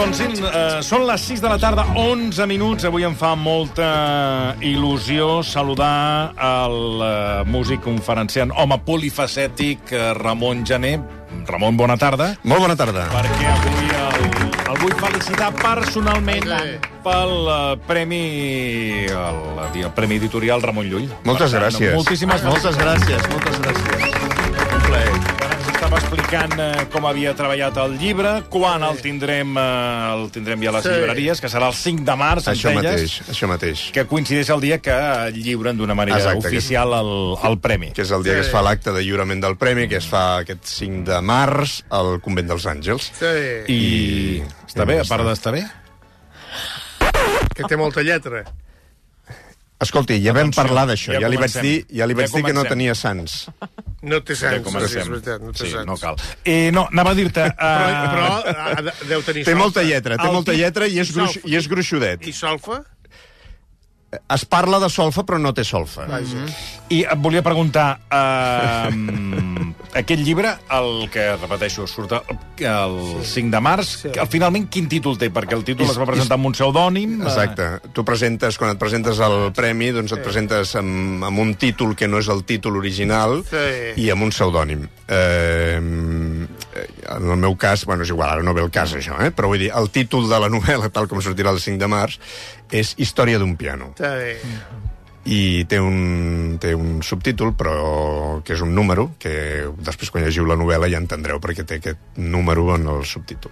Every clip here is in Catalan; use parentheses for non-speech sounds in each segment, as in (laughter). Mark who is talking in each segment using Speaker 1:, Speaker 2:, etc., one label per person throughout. Speaker 1: Doncs eh, són les 6 de la tarda, 11 minuts. Avui em fa molta il·lusió saludar el eh, músic conferenciant, home polifacètic, eh, Ramon Jané. Ramon, bona tarda.
Speaker 2: Molt bona tarda.
Speaker 1: Perquè avui el, el vull felicitar personalment pel eh, premi, el, el premi editorial Ramon Llull.
Speaker 2: Moltes
Speaker 1: Per tant,
Speaker 2: gràcies.
Speaker 1: Moltíssimes
Speaker 3: Moltes gràcies, moltes gràcies.
Speaker 1: Ara ens estava explicant eh, com havia treballat el llibre, quan el tindrem, eh, el tindrem ja a les
Speaker 3: Sí.
Speaker 1: llibreries, que serà el 5 de març,
Speaker 2: Això
Speaker 1: Centelles,
Speaker 2: mateix, això mateix.
Speaker 1: que coincideix el dia que lliuren d'una manera
Speaker 2: Exacte,
Speaker 1: oficial el, el premi.
Speaker 2: Que és el dia que es fa l'acte de lliurament del premi, que es fa aquest 5 de març al Convent dels Àngels.
Speaker 3: Sí,
Speaker 1: I està bé, a part d'estar bé?
Speaker 3: que té molta lletra.
Speaker 2: Escolti, ja vam parlar d'això,
Speaker 1: ja
Speaker 2: ja, li vaig
Speaker 1: comencem.
Speaker 2: dir, ja li vaig
Speaker 1: Ja
Speaker 2: dir que no
Speaker 1: comencem.
Speaker 2: tenia sants.
Speaker 3: No té
Speaker 1: Ja
Speaker 3: sens, sí,
Speaker 1: comencem.
Speaker 3: és veritat, no té
Speaker 1: sí,
Speaker 3: sens.
Speaker 1: no cal. Eh, no, anava a dir-te... Eh,
Speaker 3: Però, però ha- ha de- deu tenir
Speaker 2: Ah. Té
Speaker 3: solfa.
Speaker 2: molta lletra, té
Speaker 3: El
Speaker 2: molta
Speaker 3: tip-
Speaker 2: lletra i és, gruix,
Speaker 3: solfa.
Speaker 2: i és gruixudet.
Speaker 3: I solfa?
Speaker 2: Es parla de solfa, però no té solfa.
Speaker 3: Vaja.
Speaker 1: I et volia preguntar... Eh, aquest llibre, el que, repeteixo, surt el, el 5 de març, sí. finalment quin títol té? Perquè el títol
Speaker 2: Is-
Speaker 1: es va presentar amb un pseudònim. eh,
Speaker 2: Exacte. Tu presentes, quan et presentes al premi, doncs et presentes amb, amb un títol que no és el títol original
Speaker 3: Sí.
Speaker 2: i amb un pseudònim. Eh, en el meu cas, bueno, és igual, ara no ve el cas això, eh? però vull dir, el títol de la novel·la, tal com sortirà el 5 de març, és Història d'un piano.
Speaker 3: Està bé.
Speaker 2: Mm. I té un, té un subtítol, però que és un número, que després quan llegiu la novel·la ja entendreu perquè té aquest número en el subtítol.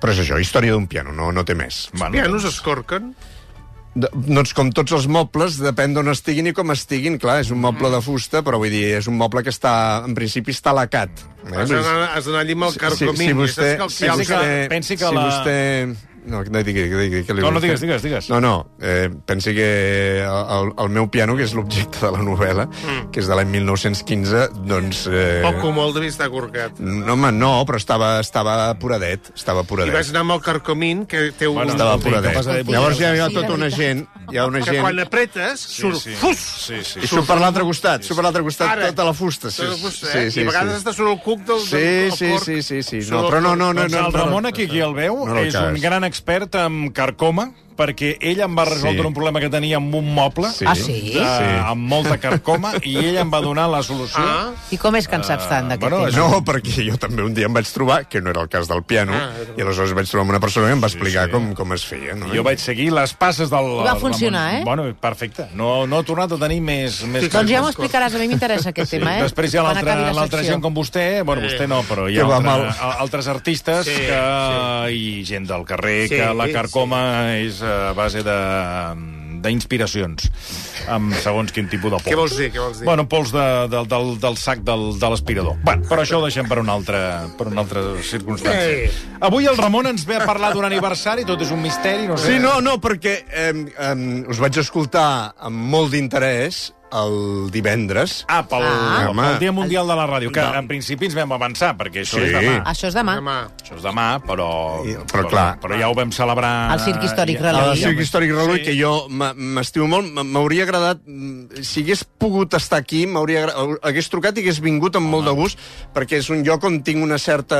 Speaker 2: Però és això, Història d'un piano, no, no té més.
Speaker 1: Bueno,
Speaker 3: Pianos escorquen?
Speaker 2: De- Doncs com tots els mobles, depèn d'on estiguin i com estiguin. Clar, és un moble
Speaker 3: Mm.
Speaker 2: de fusta, però vull dir, és un moble que està, en principi està lacat. Eh?
Speaker 3: Has d'anar has d'anar allí amb el carcomín.
Speaker 2: si vostè,
Speaker 1: pensi que
Speaker 2: si
Speaker 1: la-
Speaker 2: vostè... No, no digui, digui, digui, que li
Speaker 1: No, no
Speaker 2: vull
Speaker 1: digues,
Speaker 2: fer.
Speaker 1: digues, digues.
Speaker 2: No, no, eh, pensi que el, el meu piano, que és l'objecte de la novel·la, mm. que és de l'any 1915, doncs... Eh,
Speaker 3: Poc o molt devia estar corcat.
Speaker 2: No, home, no, però estava, estava puradet, estava
Speaker 3: I
Speaker 2: puradet.
Speaker 3: vaig anar amb el carcomín, que té un...
Speaker 1: Bueno,
Speaker 2: Estava
Speaker 1: Sí,
Speaker 2: puradet.
Speaker 1: capaç de-
Speaker 2: Llavors hi ha tota una gent... Hi ha una
Speaker 3: que
Speaker 2: gent...
Speaker 3: quan apretes, surt
Speaker 1: sí.
Speaker 3: fus!
Speaker 1: Sí, sí.
Speaker 2: I surt per l'altre costat, surt per l'altre costat
Speaker 3: Ara.
Speaker 2: tota la fusta. Sí,
Speaker 3: Tot el gust, eh?
Speaker 2: sí, sí,
Speaker 3: I a vegades
Speaker 2: sí.
Speaker 3: està sobre el cuc del...
Speaker 2: Sí,
Speaker 3: del- del
Speaker 2: sí,
Speaker 3: porc.
Speaker 2: sí, sí, sí.
Speaker 3: Sobre
Speaker 2: No,
Speaker 3: el
Speaker 2: però no, no, no,
Speaker 1: Doncs
Speaker 2: no,
Speaker 1: el
Speaker 2: no,
Speaker 1: Ramon, aquí, qui el veu,
Speaker 2: No,
Speaker 1: no,
Speaker 2: no, el
Speaker 1: és un
Speaker 2: cas.
Speaker 1: gran expert en carcoma, perquè ell em va resoldre
Speaker 2: Sí.
Speaker 1: un problema que tenia amb un moble,
Speaker 2: Sí.
Speaker 4: Ah, sí?
Speaker 1: eh,
Speaker 2: Sí.
Speaker 1: amb molta carcoma, i ell em va donar la solució.
Speaker 3: Ah,
Speaker 4: I com és que en saps tant d'aquest
Speaker 1: bueno,
Speaker 4: bueno,
Speaker 1: és-
Speaker 4: tema?
Speaker 2: No, perquè jo també un dia em vaig trobar, que no era el cas del piano,
Speaker 3: Ah,
Speaker 2: i aleshores vaig trobar amb una persona que em va explicar com, com es feia. No?
Speaker 1: I Jo vaig seguir les passes del...
Speaker 4: I va
Speaker 1: del
Speaker 4: funcionar,
Speaker 1: Ramon.
Speaker 4: eh?
Speaker 1: Bueno, perfecte. No, no ha tornat a tenir més... més
Speaker 4: Doncs ja m'ho explicaràs, a mi m'interessa aquest tema, eh?
Speaker 1: Després hi ha
Speaker 4: Quan
Speaker 1: l'altra
Speaker 4: acabi la
Speaker 1: l'altra
Speaker 4: secció.
Speaker 1: gent com vostè, eh? bueno, vostè no, però hi ha
Speaker 2: Que va
Speaker 1: altra,
Speaker 2: mal.
Speaker 1: a- altres artistes
Speaker 3: Sí,
Speaker 1: que, i gent del carrer
Speaker 3: Sí,
Speaker 1: que la
Speaker 3: sí.
Speaker 1: carcoma és a base de d'inspiracions, amb segons quin tipus de pols.
Speaker 3: Què vols dir, què vols dir?
Speaker 1: Bueno, pols de, de, del, del sac del, de l'aspirador. Bueno, però això ho deixem per una altra, per una altra circumstància.
Speaker 3: Sí.
Speaker 1: Avui el Ramon ens ve a parlar d'un aniversari, tot és un misteri, no sé...
Speaker 2: Sí, no, no, perquè eh, eh, us vaig escoltar amb molt d'interès el divendres.
Speaker 1: Ah, pel,
Speaker 4: Ah.
Speaker 1: pel,
Speaker 2: Home.
Speaker 1: Dia Mundial de la Ràdio, que
Speaker 2: No.
Speaker 1: en principi ens vam avançar, perquè això
Speaker 2: Sí.
Speaker 1: és demà.
Speaker 4: Això és demà.
Speaker 3: Demà.
Speaker 1: Això és demà, però...
Speaker 2: I- però clar.
Speaker 1: Però ja ho vam celebrar...
Speaker 4: Al Circ Històric
Speaker 1: ja-
Speaker 4: Relais.
Speaker 2: El
Speaker 4: Reluí.
Speaker 2: circ històric Reluí,
Speaker 1: Sí.
Speaker 2: Ah, que jo m'a- m'estimo molt, m- m'hauria agradat... mm, Si hagués pogut estar aquí, m'hauria agra- hau- hagués trucat i hagués vingut amb molt de gust, perquè és un lloc on tinc una certa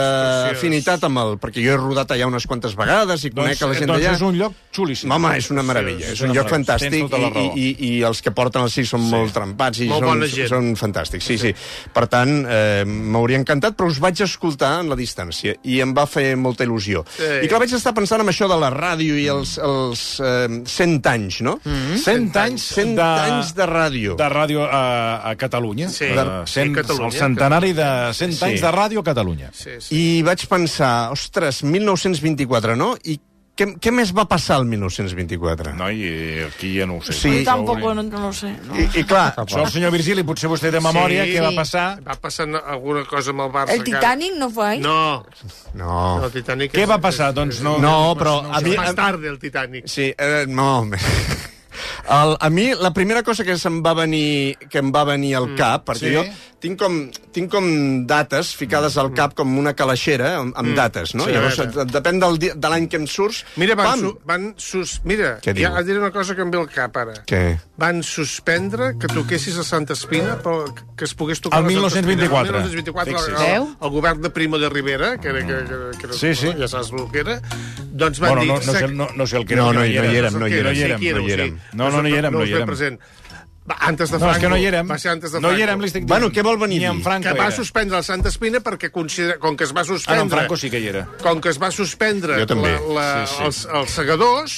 Speaker 2: afinitat amb el... Perquè jo he rodat allà unes quantes vegades i
Speaker 1: Doncs,
Speaker 2: conec a la gent
Speaker 1: doncs
Speaker 2: d'allà.
Speaker 1: és un lloc xulíssim.
Speaker 2: Home, és una meravella,
Speaker 1: Sí,
Speaker 2: és un lloc
Speaker 1: meravella.
Speaker 2: fantàstic
Speaker 1: Tens tota la
Speaker 2: i,
Speaker 1: raó.
Speaker 2: i, i, i els que porten el sí són molt trempats i
Speaker 3: Molt
Speaker 2: són,
Speaker 3: bona gent.
Speaker 2: són fantàstics, sí, sí. Per tant, eh, m'hauria encantat, però us vaig escoltar en la distància i em va fer molta il·lusió.
Speaker 3: Sí.
Speaker 2: I clar, vaig estar pensant en això de la ràdio i els, els eh, 100 anys, no? Mm
Speaker 1: 100 Mm-hmm. anys,
Speaker 2: 100
Speaker 1: de,
Speaker 2: anys de ràdio.
Speaker 1: de ràdio a, a Catalunya.
Speaker 3: Sí.
Speaker 1: Eh,
Speaker 3: De-
Speaker 1: cent,
Speaker 3: sí, Catalunya,
Speaker 1: el centenari de 100
Speaker 2: Sí.
Speaker 1: anys de ràdio a Catalunya.
Speaker 3: Sí, sí.
Speaker 2: I vaig pensar, ostres, 1924, no? I què, què més va passar el 1924?
Speaker 1: No, i aquí ja no ho sé.
Speaker 2: Sí.
Speaker 5: Tampoco, no, no lo sé. No.
Speaker 2: I, I clar,
Speaker 1: Això el senyor Virgili, potser vostè té memòria,
Speaker 3: Sí.
Speaker 1: què va passar...
Speaker 3: Va passar alguna cosa amb el Barça.
Speaker 5: El
Speaker 3: que ara-
Speaker 5: Titanic no fue ahí.
Speaker 3: No,
Speaker 2: no...
Speaker 3: no, el Titanic...
Speaker 1: Què
Speaker 3: és-
Speaker 1: va passar? Doncs no...
Speaker 2: No, però... a mi-
Speaker 3: Més tard, el Titanic.
Speaker 2: Sí, eh, no... El, a mi, la primera cosa que se'm va venir, que em va venir al
Speaker 3: Mm.
Speaker 2: cap, perquè
Speaker 1: sí.
Speaker 2: jo tinc com, tinc com dates ficades al cap com una calaixera amb, amb dates, no?
Speaker 3: Mm.
Speaker 2: Sí,
Speaker 3: Sí, a
Speaker 2: Llavors,
Speaker 3: veure.
Speaker 2: et- depèn del dia, de l'any que em surts...
Speaker 3: Mira, van,
Speaker 2: pam!
Speaker 3: su, van sus... Mira,
Speaker 2: Què diu?
Speaker 3: ja et diré una cosa que em ve al cap ara.
Speaker 2: Què?
Speaker 3: Van suspendre que toquessis a Santa Espina però que es pogués tocar...
Speaker 1: El
Speaker 3: a la Santa Espina.
Speaker 1: 1924.
Speaker 3: El 1924,
Speaker 1: Fixi's.
Speaker 3: el, el,
Speaker 4: Veu?
Speaker 3: el govern de Primo de Rivera, que era... Que, que, que era
Speaker 1: Sí, sí.
Speaker 3: Ja saps el que era. Doncs van
Speaker 1: Bueno,
Speaker 3: dir...
Speaker 1: no, no, sé, no, no sé el que era.
Speaker 2: No,
Speaker 1: que
Speaker 2: no hi- no hi érem,
Speaker 3: sé el
Speaker 2: no hi
Speaker 3: que era,
Speaker 2: érem,
Speaker 3: sí,
Speaker 1: érem,
Speaker 3: qui
Speaker 1: no
Speaker 3: era,
Speaker 1: hi
Speaker 3: o sigui,
Speaker 1: érem. No, no, no hi
Speaker 3: us
Speaker 1: érem, no hi
Speaker 3: ve
Speaker 1: érem.
Speaker 3: Present. Va, antes de
Speaker 1: No,
Speaker 3: Franco.
Speaker 1: és que no hi érem.
Speaker 3: Va ser antes de
Speaker 1: No
Speaker 3: Franco.
Speaker 1: hi érem, li estic dient.
Speaker 2: Bueno, què vol venir
Speaker 1: Ni
Speaker 2: a
Speaker 1: en
Speaker 2: dir?
Speaker 1: Franco
Speaker 3: que va
Speaker 1: era.
Speaker 3: suspendre la Santa Espina perquè considera, com que es va
Speaker 1: Ah,
Speaker 3: suspendre...
Speaker 1: no, en Franco sí que hi era.
Speaker 3: com que es va suspendre
Speaker 2: Jo també.
Speaker 3: la, la, sí, sí. Els, els segadors,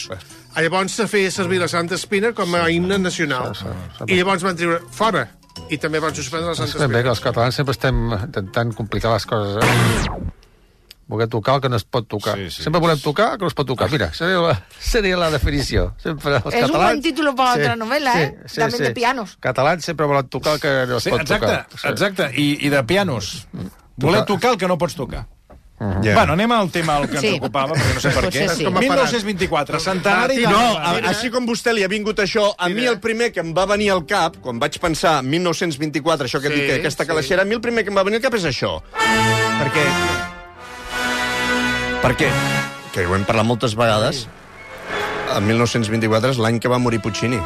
Speaker 3: llavors se feia servir la Santa Espina com a himne nacional. I llavors van treure fora. I també van suspendre la Santa
Speaker 6: Sabem bé
Speaker 3: Espina.
Speaker 6: que els catalans sempre estem intentant complicar les coses. Eh? Voler tocar el que no es pot tocar.
Speaker 1: Sí,
Speaker 6: Sí,
Speaker 1: sí.
Speaker 6: sí. Sempre volem tocar el que no es pot tocar. Mira, seria la, seria la definició. Sempre els
Speaker 5: És un
Speaker 6: catalans...
Speaker 5: bon títol per a altra novel·la, eh? També de pianos.
Speaker 6: Catalans sempre volen tocar el que no es
Speaker 1: Sí,
Speaker 6: pot
Speaker 1: exacte,
Speaker 6: tocar.
Speaker 1: exacte. I, I de pianos. Voler tocar el que no pots tocar. Yeah. Bueno, anem al tema al que ens
Speaker 4: Sí.
Speaker 1: ocupava, perquè no sé per què.
Speaker 4: Potser sí.
Speaker 1: 1924,
Speaker 3: Ah,
Speaker 1: centenari de...
Speaker 2: No, a,
Speaker 1: eh?
Speaker 2: així com vostè li ha vingut això, a mi el primer que em va venir al cap, quan vaig pensar en 1924, això que
Speaker 3: Sí,
Speaker 2: sí, dic, que aquesta
Speaker 3: sí.
Speaker 2: calaixera, a mi el primer que em va venir al cap és això. Perquè... Per què? Que ho hem parlat moltes vegades. El 1924 és l'any que va morir Puccini.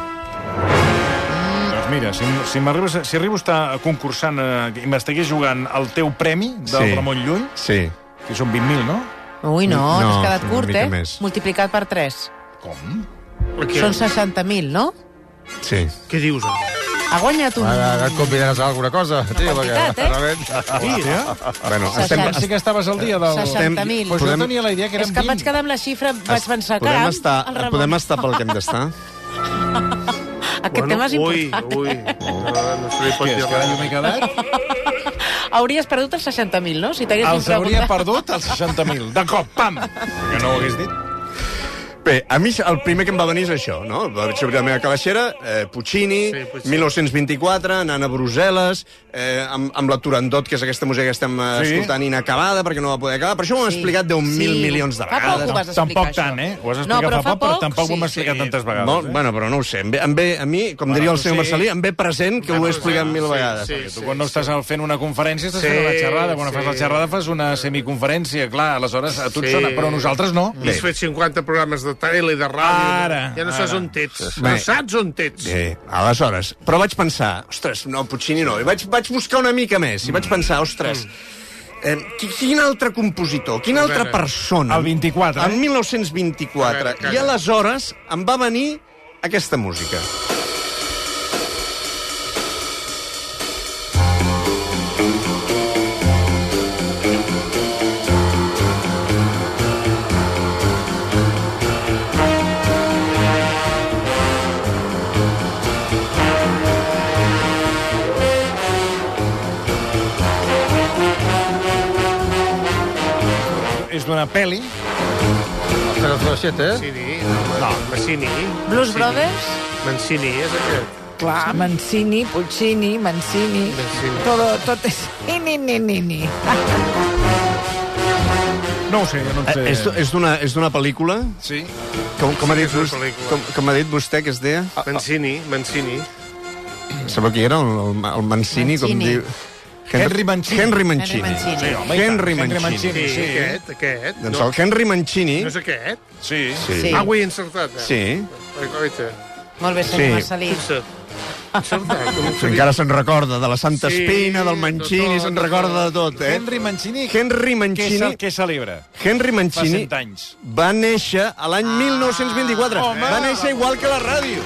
Speaker 1: Doncs mira, si, si, m'arribes a- si arribo a estar concursant, eh, i m'estigués jugant el teu premi del
Speaker 2: Sí.
Speaker 1: Ramon Llull,
Speaker 2: Sí.
Speaker 1: que són 20.000, no?
Speaker 4: Ui, no, no
Speaker 2: No,
Speaker 4: t'has quedat
Speaker 2: una
Speaker 4: curt,
Speaker 2: mica
Speaker 4: eh?
Speaker 2: més.
Speaker 4: Multiplicat per 3.
Speaker 1: Com?
Speaker 3: Exacte.
Speaker 4: Són 60.000, no?
Speaker 2: Sí.
Speaker 3: Què dius? home?
Speaker 4: Ha guanyat un...
Speaker 6: Ara, ara et convidaràs a alguna cosa, tio, perquè...
Speaker 4: quantitat, eh?
Speaker 6: realment-
Speaker 1: Hòstia.
Speaker 2: Bueno,
Speaker 4: estem-
Speaker 2: estem,
Speaker 4: Seixanta.
Speaker 1: Sí que estaves al dia del...
Speaker 4: 60.000.
Speaker 1: Pues Doncs jo tenia la idea que
Speaker 4: És
Speaker 1: eren
Speaker 4: que em
Speaker 1: 20.
Speaker 4: vaig quedar amb la xifra, vaig pensar que...
Speaker 2: podem
Speaker 4: ah,
Speaker 2: estar,
Speaker 4: el Ramon.
Speaker 2: podem estar pel que hem d'estar?
Speaker 1: (laughs)
Speaker 4: Aquest tema és
Speaker 3: ui,
Speaker 4: important.
Speaker 3: Ui,
Speaker 1: Oh.
Speaker 3: No, no se li pot
Speaker 1: Què, és
Speaker 3: dir
Speaker 1: que ara jo
Speaker 3: res.
Speaker 1: m'he quedat?
Speaker 4: Hauries perdut els 60.000, no? Si t'haguessin
Speaker 1: Els hauria
Speaker 4: preguntat.
Speaker 1: perdut els 60.000. De cop, pam! Que no ho hagués dit.
Speaker 2: Bé, a mi el primer que em va venir és això, no? Vaig obrir la meva calaixera, eh, Puccini,
Speaker 3: Sí,
Speaker 2: sí,
Speaker 3: Puccini.
Speaker 2: Puccini, 1924, anant a Brussel·les, eh, amb, amb la Turandot, que és aquesta música que estem eh,
Speaker 1: Sí.
Speaker 2: escoltant inacabada, perquè no va poder acabar, però això ho hem
Speaker 4: Sí,
Speaker 2: explicat 10.000
Speaker 4: sí.
Speaker 2: milions de
Speaker 4: Fa poc ho
Speaker 2: vegades.
Speaker 4: vas explicar,
Speaker 1: Tampoc
Speaker 4: això.
Speaker 1: tant, eh? Ho has
Speaker 4: No,
Speaker 1: explicat
Speaker 4: però
Speaker 1: fa poc, però tampoc
Speaker 4: sí.
Speaker 1: ho hem explicat tantes vegades.
Speaker 2: Molt,
Speaker 1: eh?
Speaker 2: bueno, però no ho sé, em ve, em ve a mi, com diria el
Speaker 1: tu
Speaker 2: senyor
Speaker 1: sí.
Speaker 2: Marcelí, em ve present, que ho eh, he explicat mil
Speaker 3: sí,
Speaker 2: vegades.
Speaker 3: sí.
Speaker 1: Tu quan no estàs fent una conferència estàs fent
Speaker 3: Sí,
Speaker 1: una xerrada. Quan
Speaker 3: sí.
Speaker 1: fas la xerrada fas una semiconferència, clar, aleshores a tu et
Speaker 3: Sí.
Speaker 1: sona, però a nosaltres no.
Speaker 3: I has fet 50 programes de tele, de ràdio...
Speaker 1: Ara,
Speaker 3: ja no
Speaker 1: ara.
Speaker 3: saps on t'ets. No
Speaker 2: Bé.
Speaker 3: saps on t'ets.
Speaker 2: Sí, aleshores. Però vaig pensar, ostres, no, Puccini no. I vaig, vaig buscar una mica més i
Speaker 3: Mm.
Speaker 2: vaig pensar, ostres, eh, qui- quin altre compositor, quina altra
Speaker 3: veure.
Speaker 2: persona...
Speaker 1: El 24, eh?
Speaker 2: El
Speaker 3: A
Speaker 2: 1924.
Speaker 3: veure, calla.
Speaker 2: I aleshores em va venir aquesta música.
Speaker 1: És d'una peli.
Speaker 6: Però, però, shit, eh? Sí.
Speaker 3: Mancini, home, Mancini.
Speaker 4: Blues Brothers?
Speaker 3: Mancini, és
Speaker 1: Ah,
Speaker 3: aquest.
Speaker 5: Clar, Mancini, Pulcini, Mancini...
Speaker 3: Mancini.
Speaker 5: Todo, tot és... (laughs) Ni, ni, ni, ni, ni.
Speaker 1: No ho sé, no en sé.
Speaker 2: Eh, és d- és d'una és d'una pel·lícula?
Speaker 1: Sí.
Speaker 2: Com, com, ha
Speaker 3: Sí,
Speaker 2: dit
Speaker 3: és una
Speaker 2: vostè,
Speaker 3: pel·lícula.
Speaker 2: com, com ha dit vostè que es deia?
Speaker 1: ah.
Speaker 3: Mancini, Mancini. Ah.
Speaker 2: Sabeu qui era? El, el, el Mancini, com
Speaker 4: Mancini.
Speaker 2: diu...
Speaker 1: Henry Mancini.
Speaker 2: Henry Mancini.
Speaker 4: Henry Mancini.
Speaker 1: home,
Speaker 4: Sí,
Speaker 1: i tant.
Speaker 2: Henry
Speaker 1: Henry
Speaker 2: Mancini.
Speaker 1: Mancini.
Speaker 3: Sí,
Speaker 1: Sí.
Speaker 3: sí, aquest, aquest.
Speaker 2: Doncs
Speaker 3: no,
Speaker 2: el Henry Mancini...
Speaker 3: no és aquest?
Speaker 1: Sí.
Speaker 2: Sí.
Speaker 4: Sí.
Speaker 3: Ah, ho he encertat. Eh?
Speaker 2: Sí.
Speaker 3: Oi, Oita.
Speaker 4: Molt bé, senyor
Speaker 2: Sí.
Speaker 4: Marcelí.
Speaker 3: Fixa't. Encertat. com
Speaker 2: Si
Speaker 3: que
Speaker 2: encara se'n recorda de la Santa
Speaker 3: Sí,
Speaker 2: Espina, del
Speaker 3: de
Speaker 2: Mancini,
Speaker 3: tot,
Speaker 2: se'n
Speaker 3: de
Speaker 2: recorda de tot, eh?
Speaker 1: Henry
Speaker 2: Henry
Speaker 1: Mancini, què, és
Speaker 2: Mancini,
Speaker 1: el que celebra?
Speaker 2: Henry
Speaker 1: Fa
Speaker 2: Mancini
Speaker 1: 100 anys.
Speaker 2: va néixer a l'any 1924.
Speaker 1: home!
Speaker 2: va néixer igual que la ràdio.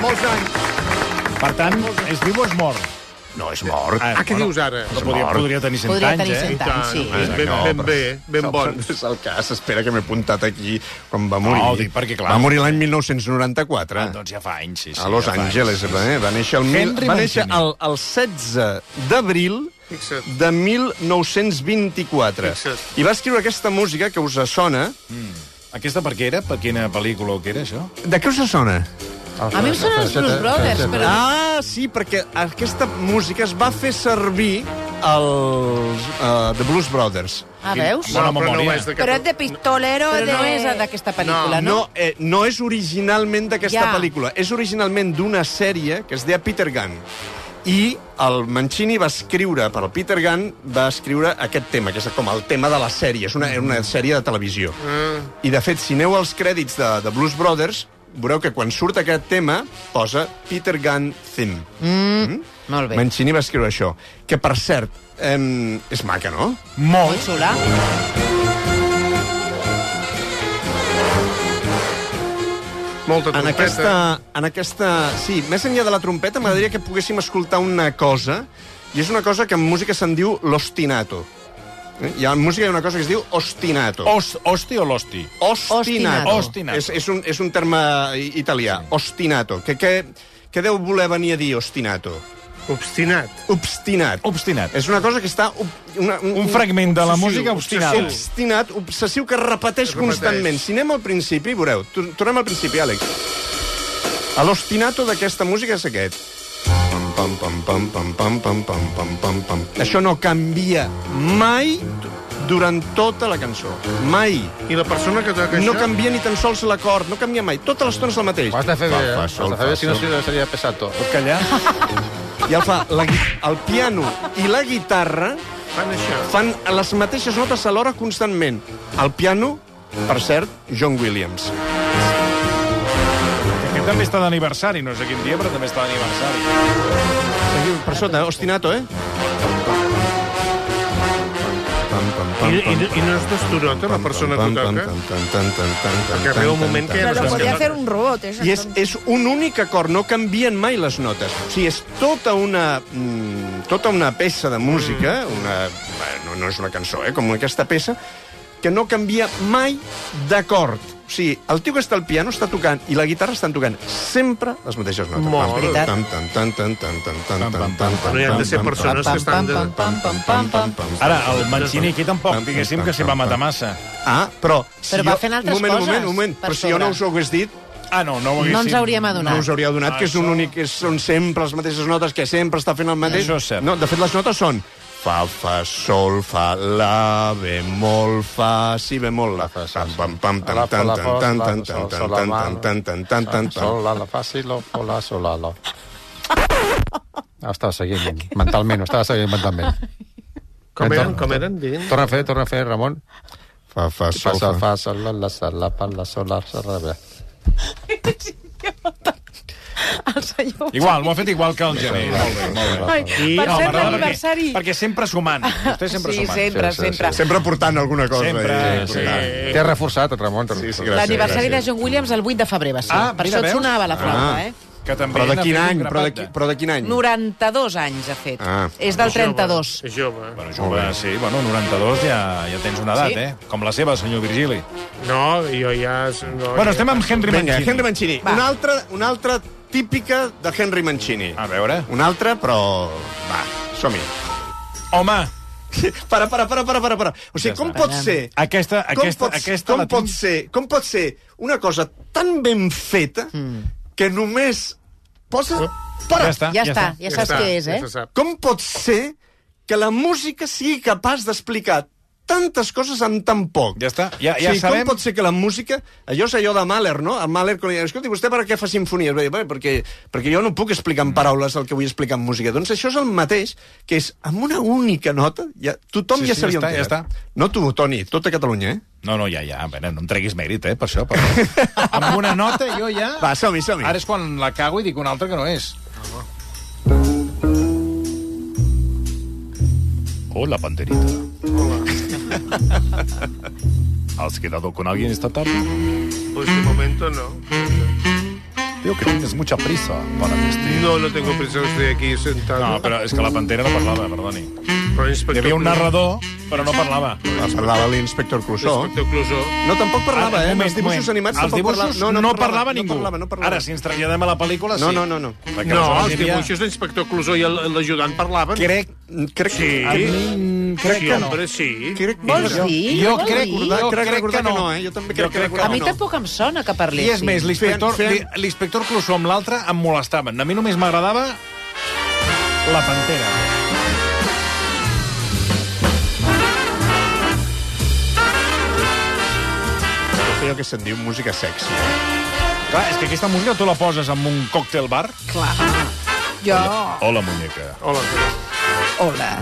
Speaker 2: Molts anys.
Speaker 1: Per tant, és viu o és mort?
Speaker 2: No, és mort.
Speaker 3: Ah, què dius ara?
Speaker 1: No podia,
Speaker 2: mort.
Speaker 1: podria tenir 100
Speaker 4: Podria
Speaker 1: anys,
Speaker 4: tenir
Speaker 1: eh?
Speaker 4: 100 anys, sí.
Speaker 3: Ben, ben,
Speaker 2: No,
Speaker 3: ben
Speaker 2: però-
Speaker 3: bé, ben bon.
Speaker 2: No és el cas, espera que m'he apuntat aquí quan va morir.
Speaker 1: No, ho dic perquè, clar.
Speaker 2: Va morir l'any 1994.
Speaker 1: Ah, doncs ja fa anys, sí, sí.
Speaker 2: a Los
Speaker 1: ja fa
Speaker 2: Angeles,
Speaker 1: anys.
Speaker 2: eh? Va néixer el, mil...
Speaker 1: Henry
Speaker 2: va néixer
Speaker 1: Mancini.
Speaker 2: el, el 16 d'abril
Speaker 3: Fixa't.
Speaker 2: de 1924.
Speaker 3: Fixa't.
Speaker 2: I va escriure aquesta música que us sona.
Speaker 1: Aquesta per què era? Per quina pel·lícula o què era, això?
Speaker 2: De què us sona?
Speaker 4: A mi em sonen els Blues Brothers, però...
Speaker 2: Ah, sí, perquè aquesta música es va fer servir els uh, The Blues Brothers.
Speaker 4: Ah, veus?
Speaker 1: Bona
Speaker 3: però no
Speaker 1: memòria.
Speaker 3: és de cap-
Speaker 5: Però és de pistolero
Speaker 4: Però
Speaker 5: de...
Speaker 4: no és d'aquesta pel·lícula, no?
Speaker 2: No, eh, no és originalment d'aquesta
Speaker 4: Ja.
Speaker 2: pel·lícula. És originalment d'una sèrie que es deia Peter Gunn. I el Mancini va escriure, per al Peter Gunn, va escriure aquest tema, que és com el tema de la sèrie. És una, era una sèrie de televisió.
Speaker 4: Ah.
Speaker 2: I, de fet, si aneu als crèdits de, de Blues Brothers, veureu que quan surt aquest tema posa Peter Gunn Theme.
Speaker 4: Molt bé.
Speaker 2: Mancini va escriure això. Que, per cert, em, és maca, no?
Speaker 4: Molt xula.
Speaker 3: Molta
Speaker 2: En
Speaker 3: trompeta.
Speaker 2: aquesta, en aquesta... Sí, més enllà de la trompeta, m'agradaria que poguéssim escoltar una cosa, i és una cosa que en música se'n diu l'ostinato. Eh? Hi ha en música hi ha una cosa que es diu ostinato.
Speaker 1: Os, hosti o l'hosti?
Speaker 2: Ostinato.
Speaker 1: Ostinato.
Speaker 2: És, és, un, és un terme i- italià. Ostinato. Que, que, que deu voler venir a dir ostinato?
Speaker 3: Obstinat.
Speaker 2: Obstinat.
Speaker 1: Obstinat.
Speaker 2: És una cosa que està... ob- Una,
Speaker 1: Un fragment de la música obstinada.
Speaker 2: Obstinat, obsessiu, que repeteix,
Speaker 3: Repeteix.
Speaker 2: constantment. Si anem al principi, veureu. Tor- Tornem al principi, Àlex. A L'ostinato d'aquesta música és aquest. Pam, pam, pam, pam, pam, pam, pam, pam, pam, pam, pam. Això no canvia mai durant tota la cançó. Mai.
Speaker 3: I la persona que toca
Speaker 2: No
Speaker 3: això...
Speaker 2: canvia ni tan sols l'acord, no canvia mai. Totes les tones el mateix.
Speaker 6: Ho has de fer bé, eh?
Speaker 2: Fa, fa,
Speaker 6: Ho has
Speaker 2: sol,
Speaker 6: de fer bé,
Speaker 2: fa,
Speaker 6: si no
Speaker 2: sol.
Speaker 6: seria- seria pesato.
Speaker 1: Pot callar?
Speaker 2: I el fa la, gui- el piano i la guitarra
Speaker 3: Fan això.
Speaker 2: fan les mateixes notes alhora constantment. Al piano, per cert, John Williams.
Speaker 1: Aquest també està d'aniversari, no sé quin dia, però també està d'aniversari.
Speaker 2: Seguiu per sota, ostinato, eh? Pam, pam, pam,
Speaker 3: I, i,
Speaker 2: pam,
Speaker 3: I no es destonota la persona que
Speaker 2: pam, pam,
Speaker 3: toca?
Speaker 2: pam, pam, tan, tan, tan, tan,
Speaker 3: Perquè arriba un
Speaker 2: tan,
Speaker 3: moment
Speaker 2: tan,
Speaker 3: que ja
Speaker 5: Però
Speaker 3: no
Speaker 5: lo
Speaker 3: saps
Speaker 5: podía
Speaker 3: què
Speaker 5: hacer un robot, eso.
Speaker 2: I és, és un únic acord, no canvien mai les notes. O sigui, és tota una, mm, tota una peça de música,
Speaker 3: Mm.
Speaker 2: una, bé, no, no és una cançó, eh, com aquesta peça, que no canvia mai d'acord. O sigui, el tio que està al piano està tocant i la guitarra estan tocant sempre les mateixes notes.
Speaker 3: Molt bé.
Speaker 2: Tan, tan, tan, tan, tan, tan, tan, tan, tan, tan,
Speaker 3: Bueno, hi han de ser
Speaker 2: tan, tan,
Speaker 3: persones que estan... De...
Speaker 2: pam, pam, pam, pam, pam.
Speaker 1: Ara, el Mancini aquí tampoc, diguéssim que s'hi va matar massa.
Speaker 2: Ah, però... si
Speaker 4: Però va
Speaker 2: jo-
Speaker 4: fent altres
Speaker 2: un moment,
Speaker 4: coses
Speaker 2: Un moment, un moment,
Speaker 4: per
Speaker 2: però si jo no
Speaker 4: sobre.
Speaker 2: us ho hagués dit,
Speaker 1: Ah, no, no ho haguéssim.
Speaker 4: No ens hauríem adonat.
Speaker 2: No us hauríeu donat que és un
Speaker 1: Això-
Speaker 2: únic, que són sempre les mateixes notes, que sempre està fent el mateix.
Speaker 1: Això és cert.
Speaker 2: No, de fet, les notes són fa, fa, sol, fa, la, bemol, fa, si bemol, la.
Speaker 6: Fa, fa,
Speaker 2: Pam, pam, pam, tan,
Speaker 6: La,
Speaker 2: tan,
Speaker 6: la,
Speaker 2: tan,
Speaker 6: fa,
Speaker 2: tan,
Speaker 6: la,
Speaker 2: tan,
Speaker 6: la, sol,
Speaker 2: tan,
Speaker 6: sol, la,
Speaker 2: tan,
Speaker 6: man.
Speaker 2: tan, tan, tan, tan, tan.
Speaker 6: Sol, la, la, fa, si, lo, fo, la, sol, la, lo. Ho estava seguint mentalment, ho estava seguint mentalment.
Speaker 3: Com
Speaker 6: Mental-
Speaker 3: eren, com eren, diguin?
Speaker 6: Torna a fer, torna a fer, Ramon.
Speaker 2: Fa, fa, sol,
Speaker 6: Passa,
Speaker 2: fa.
Speaker 6: fa, sol, la, la, sol, la, pa, la, sol, la, sol, la, bé.
Speaker 4: El senyor...
Speaker 1: Igual, ho ha fet igual que el gener. Molt bé, molt bé.
Speaker 4: Ai,
Speaker 3: I-
Speaker 4: per
Speaker 3: No,
Speaker 4: ser
Speaker 1: m'agrada
Speaker 4: l'aniversari.
Speaker 1: Perquè, perquè sempre sumant. Vostè sempre
Speaker 4: Sí,
Speaker 1: sumant.
Speaker 4: sempre,
Speaker 6: Sí, sí,
Speaker 4: sempre.
Speaker 2: Sempre portant alguna cosa.
Speaker 1: Sempre,
Speaker 2: eh,
Speaker 1: sí.
Speaker 2: portant.
Speaker 6: T'he reforçat, Ramon.
Speaker 2: Sí, sí, gràcies.
Speaker 4: L'aniversari de John Williams el 8 de febrer va ser.
Speaker 1: Ah,
Speaker 4: per
Speaker 1: mira,
Speaker 4: això et
Speaker 1: veus?
Speaker 4: sonava la flauta,
Speaker 2: Ah.
Speaker 4: eh?
Speaker 1: Que també
Speaker 2: Però de
Speaker 1: n'ha
Speaker 2: quin
Speaker 1: fet un
Speaker 2: any? Però de,
Speaker 1: grapat
Speaker 2: qui- però de quin any?
Speaker 4: 92 anys ha fet.
Speaker 2: Mm. Ah.
Speaker 4: És del 32.
Speaker 3: És jove.
Speaker 1: Bueno, jove, sí, bueno, 92 ja, ja tens una edat,
Speaker 4: Sí.
Speaker 1: eh? Com la seva, senyor Virgili.
Speaker 3: No, jo ja... No,
Speaker 1: Bueno,
Speaker 3: ja-
Speaker 1: estem amb Henry
Speaker 2: Vinga,
Speaker 1: Mancini.
Speaker 2: Henry Mancini.
Speaker 4: Va.
Speaker 2: Una altra, una altra típica de Henry Mancini.
Speaker 1: A veure.
Speaker 2: Una altra, però... Va, som-hi.
Speaker 1: Home,
Speaker 2: (laughs) Para, para, para, para, para, para. O sigui, com pot ser...
Speaker 1: aquesta, aquesta,
Speaker 2: com pot,
Speaker 1: aquesta
Speaker 2: com
Speaker 1: la
Speaker 2: pot
Speaker 1: tinc.
Speaker 2: ser, com pot ser una cosa tan ben feta
Speaker 1: Hmm.
Speaker 2: que només posa... Para.
Speaker 1: Ja està,
Speaker 4: Ja, està, ja, saps
Speaker 3: està,
Speaker 4: què és, eh?
Speaker 3: Ja se sap.
Speaker 2: Com pot ser que la música sigui capaç d'explicar tantes coses en tan poc?
Speaker 1: Ja està, ja- ja
Speaker 2: o sigui,
Speaker 1: sabem.
Speaker 2: Com pot ser que la música... Allò és allò de Mahler, no? El Mahler, quan li diuen, escolti, vostè per què fa sinfonies? Bé, bé, perquè, perquè jo no puc explicar
Speaker 1: Mm.
Speaker 2: en paraules el que vull explicar en música. Doncs això és el mateix, que és amb una única nota, ja, tothom
Speaker 1: Sí,
Speaker 2: ja
Speaker 1: sí,
Speaker 2: sabia
Speaker 1: ja
Speaker 2: on
Speaker 1: està, ja
Speaker 2: era. No tu, Toni, tota Catalunya, eh?
Speaker 1: No, no, ja, ja, a veure, no em treguis mèrit, eh, per això. Però... (laughs) amb una nota jo ja...
Speaker 2: Va, som-hi, som-hi.
Speaker 1: Ara és quan la cago i dic una altra que no és. Hola, panterita. Oh, Hola. ¿Has quedado con alguien esta tarde?
Speaker 3: Pues de momento no.
Speaker 1: Veo que tienes mucha prisa para vestir.
Speaker 3: No, no tengo prisa, estoy aquí sentado.
Speaker 1: No, però és que la pantera no parlava, perdoni.
Speaker 3: Però inspector
Speaker 1: Hi havia
Speaker 3: Clouseau-
Speaker 1: un narrador, però no parlava.
Speaker 2: Va, parlava l'inspector Clouseau.
Speaker 3: Inspector Clouseau.
Speaker 2: No, tampoc parlava,
Speaker 1: Ara,
Speaker 2: eh?
Speaker 1: un moment,
Speaker 2: els dibuixos
Speaker 1: un moment.
Speaker 2: animats
Speaker 1: Els
Speaker 2: tampoc
Speaker 1: dibuixos
Speaker 2: parlava.
Speaker 1: no parlava ningú.
Speaker 2: No parlava, no parlava.
Speaker 1: Ara, si ens traslladem a la pel·lícula, sí.
Speaker 2: No, no, no, no.
Speaker 1: Perquè
Speaker 3: No,
Speaker 1: aleshores
Speaker 3: els
Speaker 1: hi havia-
Speaker 3: dibuixos d'inspector Clouseau i el- l'ajudant parlaven.
Speaker 2: Crec, crec,
Speaker 3: Sí.
Speaker 1: A mi, crec
Speaker 3: Sí,
Speaker 1: que no.
Speaker 3: hombre, sí.
Speaker 2: crec,
Speaker 4: Vols
Speaker 2: jo,
Speaker 4: dir?
Speaker 1: Jo
Speaker 4: Vols
Speaker 1: crec,
Speaker 4: dir?
Speaker 1: recordar,
Speaker 2: Jo
Speaker 1: jo crec,
Speaker 2: crec
Speaker 1: que
Speaker 2: recordar
Speaker 1: no.
Speaker 2: que no, eh? Jo també crec que
Speaker 4: A
Speaker 2: recordar
Speaker 4: mi
Speaker 2: no.
Speaker 4: tampoc em sona que
Speaker 1: I
Speaker 4: parlessin.
Speaker 1: és més, l'inspector
Speaker 2: Fem- fem-
Speaker 1: li- l'inspector Clouseau amb l'altre em molestaven. A mi només m'agradava la pantera.
Speaker 2: allò que se'n diu música sexy.
Speaker 1: Clar, és que aquesta música tu la poses en un còctel bar.
Speaker 5: Clar. Jo...
Speaker 1: Hola, muñeca.
Speaker 3: Hola.
Speaker 5: Hola.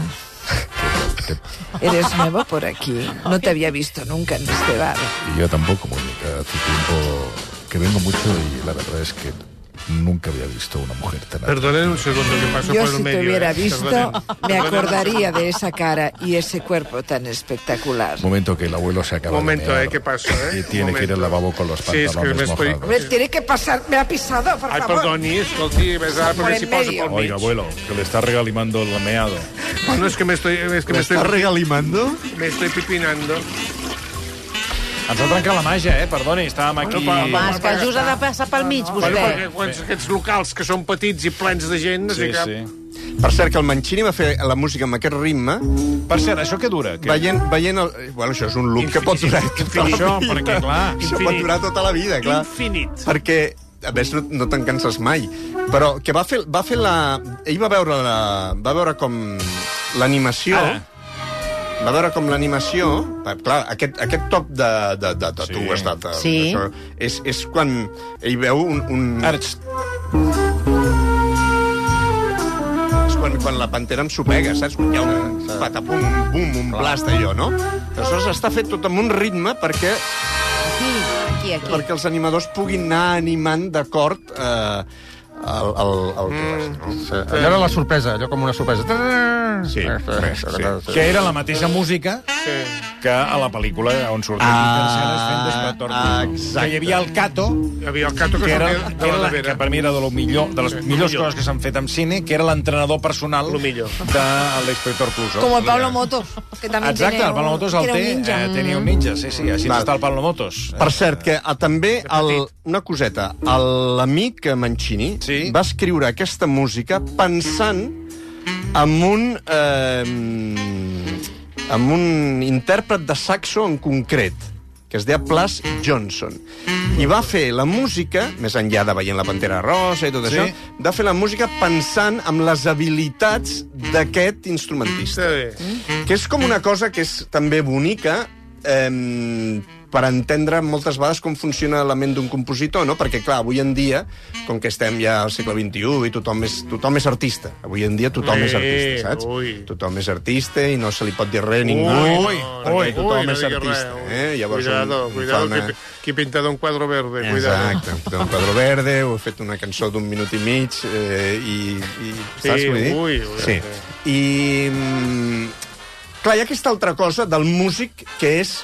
Speaker 5: Eres nueva por aquí. No te había visto nunca en este bar.
Speaker 7: Y yo tampoco, Mónica. Hace tiempo que vengo mucho y la verdad es que nunca había visto una mujer tan atractiva.
Speaker 3: Perdonen un segundo que paso
Speaker 5: Yo
Speaker 3: por el
Speaker 5: si te
Speaker 3: medio.
Speaker 5: hubiera
Speaker 3: eh.
Speaker 5: visto,
Speaker 3: Perdonen.
Speaker 5: me
Speaker 3: Perdonen.
Speaker 5: acordaría de esa cara y ese cuerpo tan espectacular.
Speaker 7: Momento que el abuelo se acaba
Speaker 3: Momento,
Speaker 7: de mear
Speaker 3: eh, ¿qué pasa, eh?
Speaker 7: Y tiene que ir al
Speaker 3: Momento.
Speaker 7: lavabo con los
Speaker 3: Sí, es que
Speaker 7: pantalones
Speaker 3: me estoy-
Speaker 7: mojados.
Speaker 4: (laughs)
Speaker 5: Hombre, tiene que pasar... Me ha pisado, por
Speaker 3: Ai,
Speaker 5: favor.
Speaker 3: perdoni, escolti, ves ara
Speaker 5: Por
Speaker 3: perquè
Speaker 5: en
Speaker 3: s'hi posa
Speaker 5: medio.
Speaker 3: pel mig.
Speaker 1: Oiga, abuelo, que le está regalimando el meado.
Speaker 3: Bueno, és que m'estoy... És que m'estoy...
Speaker 2: M'està regalimando?
Speaker 3: M'estoy pipinando.
Speaker 1: Ens ha trencat la màgia, eh? Perdoni, estàvem aquí...
Speaker 3: Bueno,
Speaker 4: Home, és que just ha de passar pel mig,
Speaker 3: Bueno,
Speaker 4: vostè.
Speaker 3: perquè quan aquests locals que són petits i plens de gent... no
Speaker 1: Sí,
Speaker 3: sé què-
Speaker 1: sí.
Speaker 2: Per cert, que el Mancini va fer la música amb aquest ritme,
Speaker 1: Per cert, això què dura? Què?
Speaker 2: veient... veient el... eh, Bueno, això és un look que pot durar tota (laughs) la
Speaker 1: Això,
Speaker 2: vida.
Speaker 1: (laughs) perquè, clar,
Speaker 2: Això
Speaker 3: infinit.
Speaker 2: pot durar tota la vida, clar.
Speaker 3: Infinit.
Speaker 2: Perquè, a més, no, no te'n canses mai. Però que va fer, va fer la... Ell va veure, la, va veure com l'animació...
Speaker 1: Ara.
Speaker 2: Va veure com l'animació... va- Clar, aquest, aquest top de, de, de tatu
Speaker 1: Sí.
Speaker 2: sí. estat...
Speaker 4: Sí.
Speaker 2: és, és quan ell veu un... un
Speaker 1: Ara, txt,
Speaker 2: és quan, quan la pantera em supega, saps? Quan hi ha un patapum, un bum, un blast d'allò, no? Aleshores està fet tot amb un ritme perquè,
Speaker 4: Aquí, aquí, aquí.
Speaker 2: perquè els animadors puguin anar animant d'acord eh, el, el, el que és, no?
Speaker 1: Mm.
Speaker 6: Sí, allò era la sorpresa, allò com una sorpresa.
Speaker 2: Sí, sí,
Speaker 6: sí.
Speaker 1: que era la mateixa música que a la pel·lícula on sortia ah,
Speaker 2: Ah,
Speaker 1: Quintansales fent d'Espector.
Speaker 2: exacte.
Speaker 1: Que hi havia el Cato,
Speaker 3: Hi havia el Cato que,
Speaker 1: que, era,
Speaker 3: sortia
Speaker 1: que,
Speaker 3: de
Speaker 1: era
Speaker 3: la
Speaker 1: la,
Speaker 3: nevera.
Speaker 1: que per mi era de, lo millor, de les millors coses que s'han fet amb cine, que era l'entrenador personal
Speaker 3: Lo millor.
Speaker 1: de l'Inspector Clouseau.
Speaker 5: Como el Pablo Motos, que también
Speaker 1: Exacte,
Speaker 5: tiene
Speaker 1: el Pablo Motos el
Speaker 5: tiene
Speaker 1: té,
Speaker 5: un ninja.
Speaker 1: eh,
Speaker 4: Mm.
Speaker 1: tenia un ninja, sí, sí, així
Speaker 2: Val.
Speaker 1: està el Pablo Motos.
Speaker 2: Per cert, que ah, també el, una coseta. el- L'amic eh, Mancini
Speaker 1: Sí.
Speaker 2: va escriure aquesta música pensant en un... Eh, amb un intèrpret de saxo en concret, que es deia Plas Johnson. I va fer la música, més enllà de veient la Pantera Rosa i tot
Speaker 1: Sí.
Speaker 2: sí. això, va fer la música pensant en les habilitats d'aquest instrumentista
Speaker 3: Sí.
Speaker 2: que és com una cosa que és també bonica eh, per entendre moltes vegades com funciona la ment d'un compositor, no? Perquè, clar, avui en dia, com que estem ja al segle XXI i tothom és, tothom és artista, avui en dia tothom
Speaker 3: Ui,
Speaker 2: és artista, saps?
Speaker 3: ui.
Speaker 2: Tothom és artista i no se li pot dir res a ningú,
Speaker 1: Ui,
Speaker 2: perquè
Speaker 1: ui,
Speaker 2: tothom
Speaker 3: no
Speaker 2: és
Speaker 3: diguis
Speaker 2: artista.
Speaker 3: res, ui.
Speaker 2: eh? Llavors,
Speaker 3: cuidado,
Speaker 2: em fa
Speaker 3: cuidado,
Speaker 2: una-
Speaker 3: que, que pinta d'un quadro verde, cuidado.
Speaker 2: Exacte, un quadro verde, heu fet una cançó d'un minut i mig, eh, i, i
Speaker 3: Sí,
Speaker 2: saps què vull dir?
Speaker 3: ui, ui.
Speaker 2: sí. I... mm, Clar, hi ha aquesta altra cosa del músic que és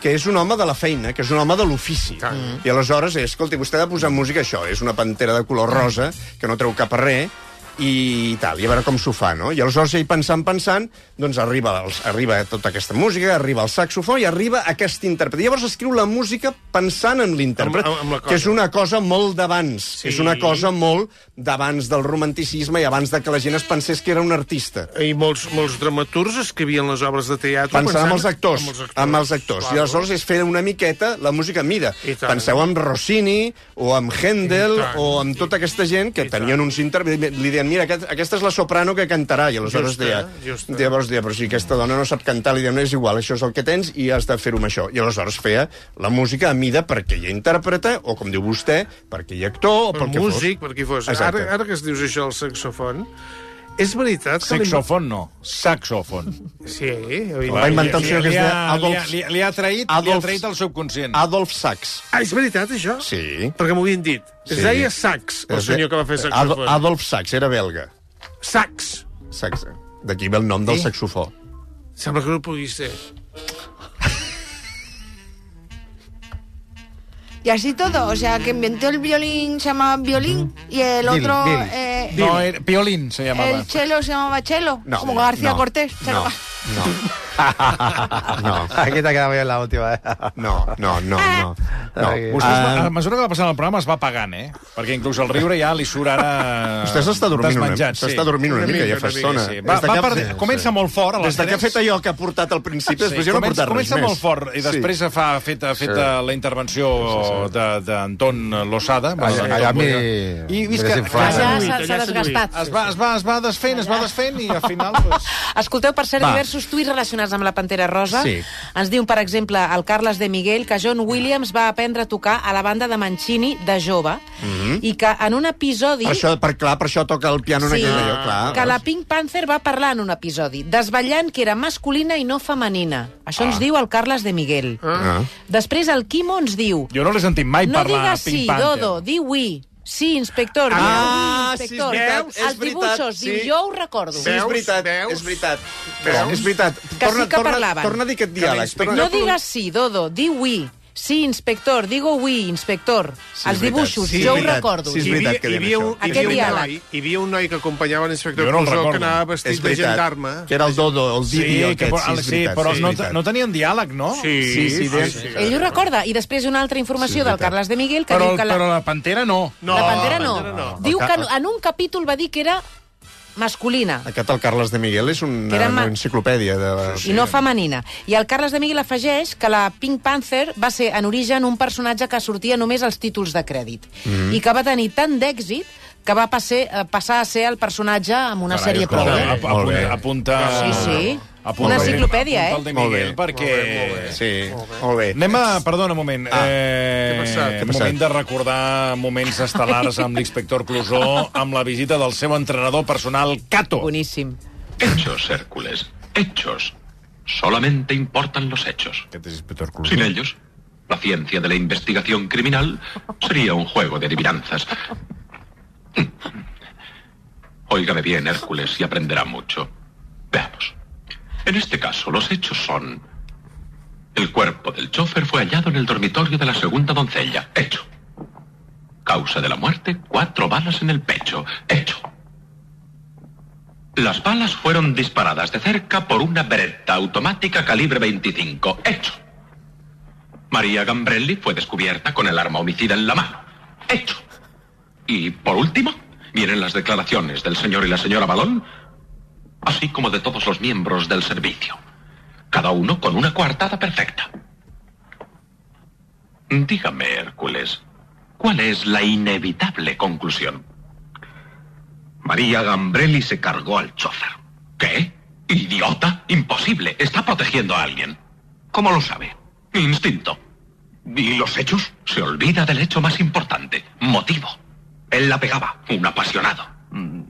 Speaker 2: que és un home de la feina, que és un home de l'ofici. Mm.
Speaker 3: Tant.
Speaker 2: I aleshores, és, escolti, vostè ha de posar música a això, és una pantera de color rosa, que no treu cap a res, i tal, i a veure com s'ho fa, no? I aleshores, ell pensant, pensant, doncs arriba, els, arriba tota aquesta música, arriba el saxofó i arriba aquest intèrpret. I llavors escriu la música pensant en l'intèrpret,
Speaker 3: Amb- amb- amb la cosa.
Speaker 2: que és una cosa molt d'abans,
Speaker 3: Sí.
Speaker 2: sí. és una cosa molt d'abans del romanticisme i abans de que la gent es pensés que era un artista.
Speaker 3: I molts, molts dramaturgs escrivien les obres de teatre...
Speaker 2: Pensant en els actors,
Speaker 3: amb els actors.
Speaker 2: amb els actors. I
Speaker 3: Claro.
Speaker 2: aleshores és fer una miqueta la música a mida.
Speaker 3: I tant.
Speaker 2: Penseu en Rossini, o en Händel,
Speaker 3: I tant.
Speaker 2: o amb tota aquesta gent que
Speaker 3: I
Speaker 2: tenien uns intèrprets, li deien, mira, aquest, aquesta és la soprano que cantarà, i aleshores
Speaker 3: Justa,
Speaker 2: deia,
Speaker 3: justa.
Speaker 2: llavors deia, però si aquesta dona no sap cantar, li deien, no és igual, això és el que tens, i has de fer-ho amb això. I aleshores feia la música a mida perquè hi ha intèrpreta, o com diu vostè, perquè hi ha actor, o
Speaker 3: per
Speaker 2: pel que fos.
Speaker 3: músic, per qui fos.
Speaker 2: Exacte.
Speaker 3: Ara, ara que es dius això, el saxofon, és veritat que... li-
Speaker 1: Saxofon no, saxofon.
Speaker 3: Sí,
Speaker 2: Va
Speaker 3: evidentment.
Speaker 2: inventar un senyor que es
Speaker 1: Li
Speaker 2: deia
Speaker 1: ha, li, ha,
Speaker 2: Adolf,
Speaker 1: li, ha- li ha traït, li ha
Speaker 2: Adolf-
Speaker 1: traït el subconscient.
Speaker 2: Adolf Sachs.
Speaker 3: Ah, és veritat, això?
Speaker 2: Sí.
Speaker 3: Perquè m'ho havien dit. Es
Speaker 2: Sí.
Speaker 3: deia sax, el senyor que va fer saxofon.
Speaker 2: Adolf, Adolf Sachs, era belga.
Speaker 3: Sax.
Speaker 2: Sax. D'aquí ve el nom del saxofó.
Speaker 3: Sembla que no pugui ser.
Speaker 5: Y así todo, o sea, que inventó el violín, se llamaba violín, y el
Speaker 6: Dil,
Speaker 5: otro,
Speaker 6: dil,
Speaker 5: eh,
Speaker 1: No, era, Piolín se llamava.
Speaker 5: el chelo se llamaba chelo,
Speaker 2: No,
Speaker 5: como García
Speaker 2: no,
Speaker 5: Cortés. Chelo
Speaker 2: No,
Speaker 5: Gar-
Speaker 2: no,
Speaker 6: Aquí t'ha quedat bé la última.
Speaker 2: no, no, no, no.
Speaker 1: Eh.
Speaker 2: no.
Speaker 6: Ai.
Speaker 1: Vostè,
Speaker 2: Ah,
Speaker 1: a mesura que va passant el programa, es va pagant, eh? Perquè inclús el riure ja li surt ara...
Speaker 2: (laughs) Vostè s'està dormint, una,
Speaker 1: desmenjat,
Speaker 2: s'està dormint una
Speaker 3: Una
Speaker 2: mica, ja
Speaker 3: mica,
Speaker 2: fa
Speaker 3: una mica,
Speaker 2: estona.
Speaker 1: Sí, va,
Speaker 2: Des de
Speaker 1: va
Speaker 2: que-
Speaker 1: per... Comença molt fort. a les
Speaker 2: Des de que ha
Speaker 1: tres.
Speaker 2: fet allò que ha portat al principi,
Speaker 1: Sí,
Speaker 2: després ja no ha
Speaker 1: comença,
Speaker 2: portat res
Speaker 1: comença
Speaker 2: més.
Speaker 1: molt fort i després sí. fa, ha fet, ha fet sí. la intervenció de- d'Anton Losada.
Speaker 6: Allà, allà m'hi...
Speaker 1: I
Speaker 6: m'hi
Speaker 1: visca...
Speaker 6: desinflava.
Speaker 4: Allà
Speaker 3: s'ha-
Speaker 4: s'ha
Speaker 3: s'ha
Speaker 4: s'ha
Speaker 3: ja seduït.
Speaker 4: desgastat.
Speaker 1: Es va, es va, es va desfent, es va desfent i al final... Pues...
Speaker 4: (laughs) Escolteu, per cert,
Speaker 1: Va.
Speaker 4: Va. diversos tuits relacionats amb la Pantera Rosa.
Speaker 1: Sí.
Speaker 4: Ens diu, per exemple, el Carles de Miguel que John Williams va aprendre a tocar a la banda de Mancini de jove
Speaker 1: Mhm.
Speaker 4: i que en un episodi...
Speaker 2: Per això, per, clar, per això toca el piano en
Speaker 4: Sí,
Speaker 2: aquell allò, clar.
Speaker 4: que
Speaker 1: doncs.
Speaker 4: la Pink Panther va parlar en un episodi, desvetllant que era masculina i no femenina. Això
Speaker 1: Ah.
Speaker 4: ens diu el Carles de Miguel.
Speaker 2: Ah.
Speaker 4: Després el Quimo ens diu...
Speaker 1: Jo no l'he sentit mai
Speaker 4: No
Speaker 1: parlar
Speaker 4: digues
Speaker 1: a Pink
Speaker 4: sí,
Speaker 1: Panther.
Speaker 4: Dodo, di oui. Sí, inspector. diu,
Speaker 2: Ah,
Speaker 4: "Oui,
Speaker 2: sí, és
Speaker 4: inspector".
Speaker 2: veritat, és veritat,
Speaker 4: Els dibuixos,
Speaker 2: sí.
Speaker 4: diu, jo ho recordo.
Speaker 2: Sí, és
Speaker 3: Veus?
Speaker 2: veritat,
Speaker 3: Veus?
Speaker 2: és veritat.
Speaker 3: Veus?
Speaker 2: És veritat.
Speaker 4: Que sí que
Speaker 2: torna,
Speaker 4: parlaven.
Speaker 2: Torna a dir aquest
Speaker 3: Que
Speaker 2: diàleg.
Speaker 3: l'inspector-
Speaker 2: Torna...
Speaker 4: No digas sí, Dodo, di oui. Sí, inspector, digo oui, inspector.
Speaker 2: Sí, és
Speaker 4: els
Speaker 2: veritat,
Speaker 4: dibuixos,
Speaker 2: sí,
Speaker 4: jo
Speaker 2: és
Speaker 4: ho
Speaker 2: veritat,
Speaker 4: recordo.
Speaker 2: sí, és
Speaker 3: Hi havia-
Speaker 2: veritat que
Speaker 3: hi
Speaker 2: diem
Speaker 3: havia, un-
Speaker 2: això.
Speaker 3: hi havia,
Speaker 4: Aquest
Speaker 3: un
Speaker 4: diàleg.
Speaker 3: noi, hi havia un noi que acompanyava l'inspector
Speaker 1: Jo no el
Speaker 3: Pujol que
Speaker 1: recordo.
Speaker 3: anava vestit de gendarme.
Speaker 2: que era el Dodo, el
Speaker 1: Sí,
Speaker 2: Didi,
Speaker 1: que,
Speaker 2: aquest,
Speaker 1: però, sí, però
Speaker 2: és
Speaker 1: no,
Speaker 2: veritat.
Speaker 1: no tenien diàleg, no?
Speaker 2: Sí, sí, sí,
Speaker 4: Ell ho recorda. I després una altra
Speaker 2: Sí,
Speaker 4: informació
Speaker 2: és
Speaker 4: del
Speaker 2: veritat.
Speaker 4: Carles de Miguel que
Speaker 1: Però,
Speaker 4: diu que la,
Speaker 1: però la Pantera no.
Speaker 3: No,
Speaker 4: la Pantera no.
Speaker 3: Pantera no.
Speaker 4: Diu
Speaker 6: El
Speaker 4: que
Speaker 6: ca-
Speaker 4: en un capítol va dir que era masculina.
Speaker 2: Aquest, el Carles de Miguel, és una,
Speaker 4: Que era ma-
Speaker 2: una enciclopèdia. De...
Speaker 4: i no femenina. I el Carles de Miguel afegeix que la Pink Panther va ser en origen un personatge que sortia només als títols de crèdit mm. i que va tenir tant d'èxit que va passar, passar a ser el personatge amb una
Speaker 1: Carai, eh?
Speaker 4: sèrie
Speaker 1: escolta,
Speaker 4: pròpia.
Speaker 1: ap-
Speaker 2: Molt bé.
Speaker 1: apunta- Apunta...
Speaker 4: Sí, sí.
Speaker 1: Apunta,
Speaker 4: Una enciclopèdia,
Speaker 1: apunta el de
Speaker 2: Molt
Speaker 1: Miguel,
Speaker 2: bé.
Speaker 1: perquè...
Speaker 2: Sí, molt bé.
Speaker 1: Anem a... Perdona, un moment. Ah, eh,
Speaker 3: què ha passat? Què ha
Speaker 2: passat?
Speaker 1: Moment de recordar moments estel·lars amb l'inspector Clouseau, amb la visita del seu entrenador personal, Cato.
Speaker 4: Boníssim.
Speaker 8: Hechos, Hércules, hechos. Solamente importan los hechos.
Speaker 1: Aquest és inspector
Speaker 8: Sin
Speaker 1: Clouseau.
Speaker 8: ellos, la ciencia de la investigación criminal sería un juego de adivinanzas. Óigame bien, Hércules, y aprenderá mucho. Veamos. En este caso, los hechos son... El cuerpo del chofer fue hallado en el dormitorio de la segunda doncella. Hecho. Causa de la muerte, cuatro balas en el pecho. Hecho. Las balas fueron disparadas de cerca por una beretta automática calibre 25. Hecho. María Gambrelli fue descubierta con el arma homicida en la mano. Hecho. Y por último, vienen las declaraciones del señor y la señora Balón, así como de todos los miembros del servicio. Cada uno con una coartada perfecta. Dígame, Hércules, ¿cuál es la inevitable conclusión? María Gambrelli se cargó al chofer. ¿Qué? Idiota, imposible. Está protegiendo a alguien. ¿Cómo lo sabe? Instinto. ¿Y los hechos? Se olvida del hecho más importante, motivo. Él la pegaba, un apasionado. Mm,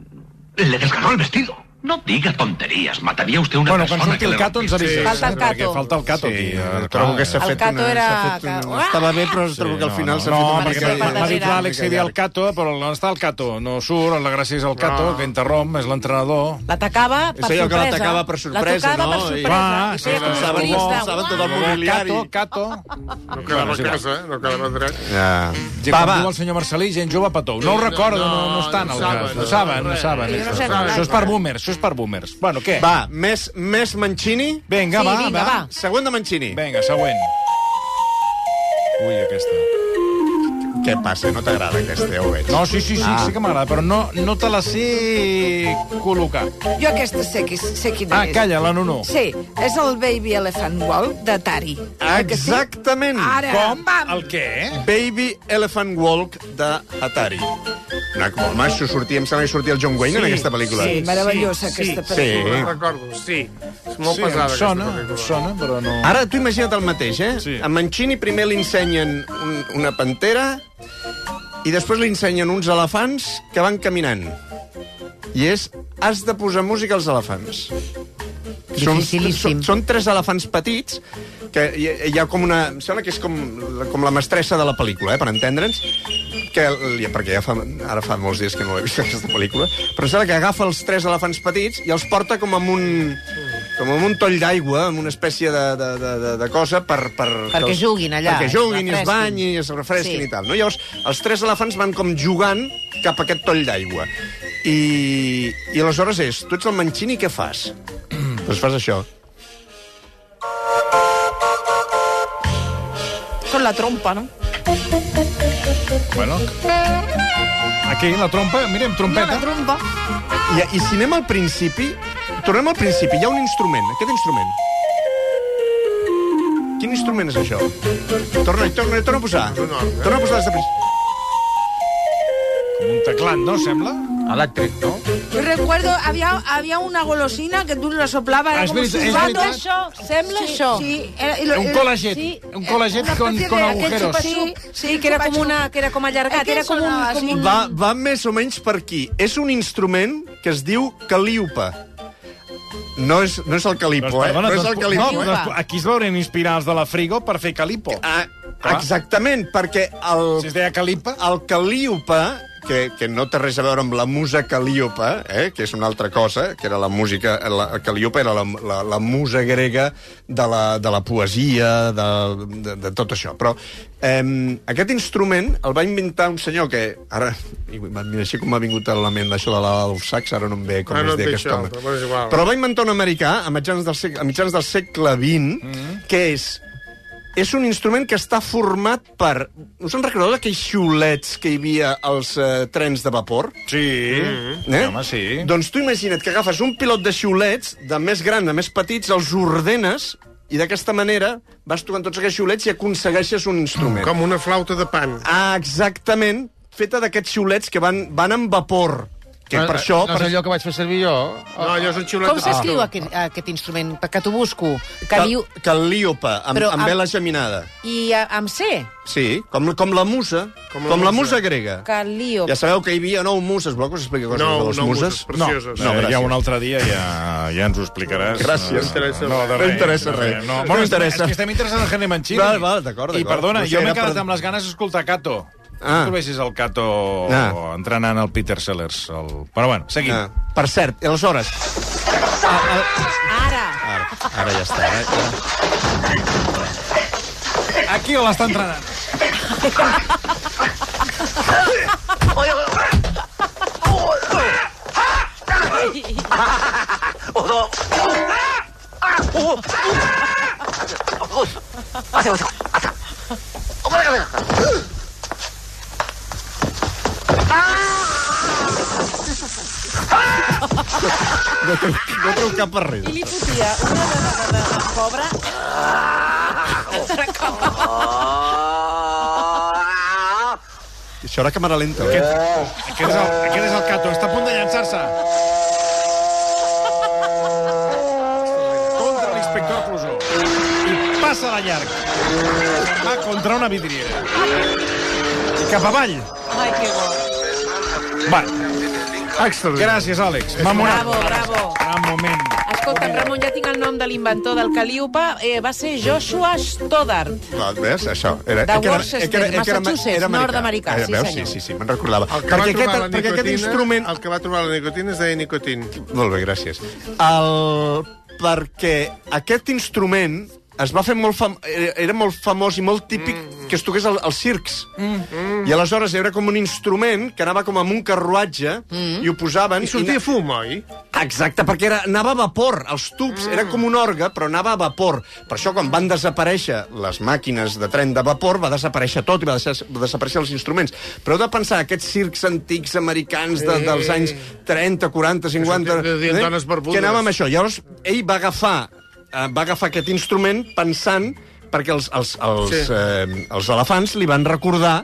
Speaker 8: Le desgarró el vestido. No diga tonterías, mataría usted a una
Speaker 1: Bueno, quan
Speaker 8: persona
Speaker 1: surti
Speaker 8: que
Speaker 1: el
Speaker 8: le
Speaker 1: Cato ens avisa.
Speaker 4: Sí. Falta el
Speaker 1: Perquè
Speaker 4: Cato.
Speaker 1: Falta el Cato aquí. eh,
Speaker 2: trobo que s'ha
Speaker 4: El
Speaker 2: fet
Speaker 4: Cato
Speaker 2: una... s'ha
Speaker 4: era-
Speaker 2: Fet una...
Speaker 4: Ah!
Speaker 2: Estava bé, però trobo que al final s'ha
Speaker 1: No,
Speaker 2: fet una...
Speaker 4: perquè
Speaker 1: perquè
Speaker 4: sí,
Speaker 1: m'ha- m'ha dit
Speaker 4: Pantera.
Speaker 1: l'Àlex que hi havia el Cato, però on està el Cato? No surt, la gràcia és el Cato, que interromp, és l'entrenador.
Speaker 4: L'atacava per
Speaker 2: És allò que
Speaker 4: sorpresa.
Speaker 2: l'atacava per sorpresa,
Speaker 4: L'atacava
Speaker 2: no?
Speaker 4: per
Speaker 2: I-
Speaker 4: sorpresa.
Speaker 1: Va,
Speaker 4: I
Speaker 1: sí,
Speaker 4: feia
Speaker 1: sí,
Speaker 4: com un
Speaker 1: saben-
Speaker 4: turista.
Speaker 2: saben tot el
Speaker 4: Uah!
Speaker 2: món. Mobiliari.
Speaker 1: Cato, Cato.
Speaker 3: No quedava
Speaker 1: Bueno,
Speaker 3: a
Speaker 1: sí, va.
Speaker 3: casa, eh? no quedava dret.
Speaker 2: Ja.
Speaker 1: Sí,
Speaker 2: Va,
Speaker 1: com
Speaker 2: va.
Speaker 1: diu el senyor Marcelí, gent jove patou. No ho recordo, no, no, està en
Speaker 3: no
Speaker 1: el cas.
Speaker 3: saben,
Speaker 1: No saben,
Speaker 3: no
Speaker 1: no saben.
Speaker 4: Jo no sé, no
Speaker 1: Això és
Speaker 4: saben.
Speaker 1: per boomers, això és per boomers. Bueno, què?
Speaker 2: Va, més, més Mancini.
Speaker 1: Vinga,
Speaker 4: Sí,
Speaker 1: va, va.
Speaker 4: vinga, va.
Speaker 2: Següent de Mancini.
Speaker 1: Vinga, següent. Ui, aquesta.
Speaker 2: Què passa? No t'agrada aquesta, ja ho veig.
Speaker 1: No, sí, sí, sí,
Speaker 2: Ah.
Speaker 1: sí que m'agrada, però no, no te la sé col·locar.
Speaker 9: Jo aquesta sé, qui, sé quina
Speaker 1: Ah,
Speaker 9: és.
Speaker 1: calla, la Nunu.
Speaker 9: Sí, és el Baby Elephant Wall d'Atari.
Speaker 2: Ah,
Speaker 9: Oi que sí?
Speaker 2: Exactament.
Speaker 9: Ara,
Speaker 1: Com?
Speaker 9: pam!
Speaker 1: El què?
Speaker 2: Baby Elephant Walk de Atari. Una, molt macho, sortia, em sembla que sortia el John Wayne en aquesta pel·lícula.
Speaker 9: Sí, meravellosa
Speaker 3: sí,
Speaker 9: aquesta
Speaker 3: sí,
Speaker 9: pel·lícula.
Speaker 3: No la recordo, sí. És molt
Speaker 1: Sí, em
Speaker 3: pesada,
Speaker 1: sona,
Speaker 3: aquesta
Speaker 1: em
Speaker 3: pel·lícula.
Speaker 1: sona, però no...
Speaker 2: Ara, tu imagina't el mateix, eh?
Speaker 1: Sí.
Speaker 2: A Mancini primer li ensenyen un, una pantera i després li ensenyen uns elefants que van caminant. I és, has de posar música als elefants. Són, són,
Speaker 4: Dificilíssim.
Speaker 2: són tres elefants petits que hi, ha- hi ha com una... Em sembla que és com, la- com la mestressa de la pel·lícula, eh, per entendre'ns, que, li- perquè ja fa, ara fa molts dies que no l'he vist (laughs) aquesta pel·lícula, però em sembla que agafa els tres elefants petits i els porta com amb un com amb un toll d'aigua, amb una espècie de, de, de, de, de cosa per... per
Speaker 4: Perquè
Speaker 2: que els-
Speaker 4: juguin allà,
Speaker 2: Perquè juguin, i es
Speaker 4: refresquin.
Speaker 2: banyin, i es refresquin
Speaker 4: Sí.
Speaker 2: i tal. No? Llavors, els tres elefants van com jugant cap a aquest toll d'aigua. I, I aleshores és, tu ets el Mancini, què fas? (clears throat) doncs fas això.
Speaker 5: Con la trompa, no?
Speaker 1: Bueno. Aquí, la trompa, mirem, trompeta.
Speaker 5: La trompa.
Speaker 2: I, I si anem al principi, tornem al principi, hi ha un instrument, aquest instrument. Quin instrument és això? Torna, torna, torna a posar.
Speaker 3: Un orgue.
Speaker 2: Torna a posar des de principi.
Speaker 1: Com un teclat, no, sembla?
Speaker 6: Elèctric, no?
Speaker 9: Yo recuerdo, había, había una golosina que tú la soplabas, era
Speaker 1: Ah, és
Speaker 9: como
Speaker 1: veritat, és
Speaker 9: silbando.
Speaker 1: veritat.
Speaker 4: Sembla
Speaker 9: sí,
Speaker 4: això.
Speaker 9: Sí, era- y lo-
Speaker 1: Un
Speaker 9: el-
Speaker 1: colaget,
Speaker 9: sí,
Speaker 1: un colaget
Speaker 9: una
Speaker 1: con,
Speaker 9: especie
Speaker 1: con
Speaker 9: de- de
Speaker 1: agujeros.
Speaker 9: chupa-chup.
Speaker 4: Sí, que era com, una, que era com allargat, era com un... Com un...
Speaker 2: Va, va més o menys per aquí. És un instrument que es diu caliupa. No és, no és el calipo,
Speaker 1: Doncs, perdona,
Speaker 2: eh? No és el
Speaker 1: doncs,
Speaker 2: calipo.
Speaker 1: no, doncs, aquí es veurien inspirar els de la Frigo per fer calipo.
Speaker 2: Ah, exactament, perquè el...
Speaker 1: Si es deia calipa...
Speaker 2: El calíope, que, que no té res a veure amb la musa calíope, eh, que és una altra cosa, que era la música... La, calíope era la, la, la musa grega de la, de la poesia, de, de, de tot això. Però eh, aquest instrument el va inventar un senyor que... Ara, i mira, així com m'ha vingut a la ment això de la del sax, ara no em ve com es
Speaker 3: Ara Ah, no et
Speaker 2: deia
Speaker 3: ve
Speaker 2: aquest
Speaker 3: això,
Speaker 2: home.
Speaker 3: però bueno, és igual.
Speaker 2: Però el va inventar un americà a mitjans del segle, a mitjans del segle XX, mm -hmm. que és és un instrument que està format per... Us en recordeu d'aquells xiulets que hi havia als eh, trens de vapor?
Speaker 1: Sí, mm
Speaker 2: Eh?
Speaker 1: home, sí.
Speaker 2: Doncs tu imagina't que agafes un pilot de xiulets, de més grans a més petits, els ordenes, i d'aquesta manera vas tocant tots aquests xiulets i aconsegueixes un instrument.
Speaker 3: Com una flauta de pan.
Speaker 2: Ah, exactament, feta d'aquests xiulets que van, van amb vapor. Que per
Speaker 6: Eh,
Speaker 2: això...
Speaker 6: No és
Speaker 2: per...
Speaker 6: allò que vaig fer servir jo.
Speaker 3: No, allò és un xiulet
Speaker 4: Com
Speaker 3: de pan.
Speaker 4: s'escriu aquest, aquest instrument? Perquè t'ho busco. Caliu...
Speaker 2: Cal, calíopa, amb,
Speaker 4: Però
Speaker 2: amb,
Speaker 4: amb-
Speaker 2: amb vela geminada.
Speaker 4: I eh, amb C?
Speaker 2: Sí, com, com la musa, com la, com la musa grega.
Speaker 4: Calio.
Speaker 2: Ja sabeu que hi havia nou muses, voleu que us expliqui coses
Speaker 3: Nou-
Speaker 2: de les
Speaker 3: nou
Speaker 2: muses?
Speaker 3: muses, precioses. Eh,
Speaker 2: No, no,
Speaker 1: eh, ja un
Speaker 2: gràcies.
Speaker 1: altre dia ja, ja ens ho explicaràs.
Speaker 2: Gràcies.
Speaker 1: No, de
Speaker 2: No
Speaker 1: res.
Speaker 2: interessa
Speaker 1: de
Speaker 2: res.
Speaker 1: No,
Speaker 2: No interessa.
Speaker 1: bueno, interessa. És que estem interessats en Henry Mancini.
Speaker 2: Val, val, d'acord,
Speaker 1: I
Speaker 2: d'acord.
Speaker 1: perdona,
Speaker 2: No sé,
Speaker 1: jo m'he
Speaker 2: era
Speaker 1: quedat
Speaker 2: per-
Speaker 1: amb les ganes d'escoltar Cato. Ah.
Speaker 2: Ah.
Speaker 1: No trobessis el Cato
Speaker 2: Ah.
Speaker 1: entrenant el Peter Sellers. El... Però bueno, seguim.
Speaker 2: Ah, per cert, i aleshores...
Speaker 4: Ara.
Speaker 2: Ara, ara ja està.
Speaker 3: eh,
Speaker 2: Ara, ara.
Speaker 1: Aquí l'està entrenant.
Speaker 2: No treu cap per res.
Speaker 4: I li fotia una de, de, de, de pobra...
Speaker 2: Ah.
Speaker 4: Altra cop.
Speaker 2: Ah. Això era càmera lenta. eh? Aquest...
Speaker 1: Aquest és el,
Speaker 2: Eh.
Speaker 1: aquest és el Cato, està a punt de llançar-se. Contra l'inspector Clouseau. I passa de llarg. Va contra una vidriera. I cap avall.
Speaker 4: Ai, que bo.
Speaker 1: Va,
Speaker 3: Extraordinari.
Speaker 1: gràcies, Àlex. Memorable.
Speaker 4: Bravo, bravo.
Speaker 1: Gran moment.
Speaker 4: Escolta, Ramon, ja tinc el nom de l'inventor del Caliupa. Eh, va ser Joshua Stoddart.
Speaker 2: No, ves, això. Era,
Speaker 4: De
Speaker 2: eh, que era-
Speaker 4: Worcester,
Speaker 2: eh, que era- eh, que era-
Speaker 4: Massachusetts,
Speaker 2: era americà.
Speaker 4: nord-americà,
Speaker 2: Eh,
Speaker 4: sí,
Speaker 2: veus?
Speaker 4: senyor.
Speaker 2: Sí, sí, sí, me'n recordava.
Speaker 3: El que, va
Speaker 2: Perquè
Speaker 3: trobar
Speaker 2: aquest,
Speaker 3: la
Speaker 2: perquè aquest
Speaker 3: nicotina-
Speaker 2: instrument...
Speaker 3: el que va trobar la nicotina es deia nicotín.
Speaker 2: Molt bé, gràcies. El... Perquè aquest instrument es va fer molt fam... era- era molt famós i molt típic mm. que es toqués al- als circs. Mm. I aleshores era com un instrument que anava com amb un carruatge mm. i ho posaven...
Speaker 3: I sortia
Speaker 2: na-
Speaker 3: fum, oi?
Speaker 2: Exacte, perquè era, anava a vapor, els tubs, mm. era com un orgue, però anava a vapor. Per això, quan van desaparèixer les màquines de tren de vapor, va desaparèixer tot i va deixar, va desaparèixer els instruments. Però heu de pensar, aquests circs antics americans de, dels anys 30, 40, 50...
Speaker 3: Que sortien dones barbudes.
Speaker 2: eh? que anava amb això. Llavors, ell va agafar, eh, va agafar aquest instrument pensant perquè els, els, els,
Speaker 3: Sí.
Speaker 2: sí. eh, els elefants li van recordar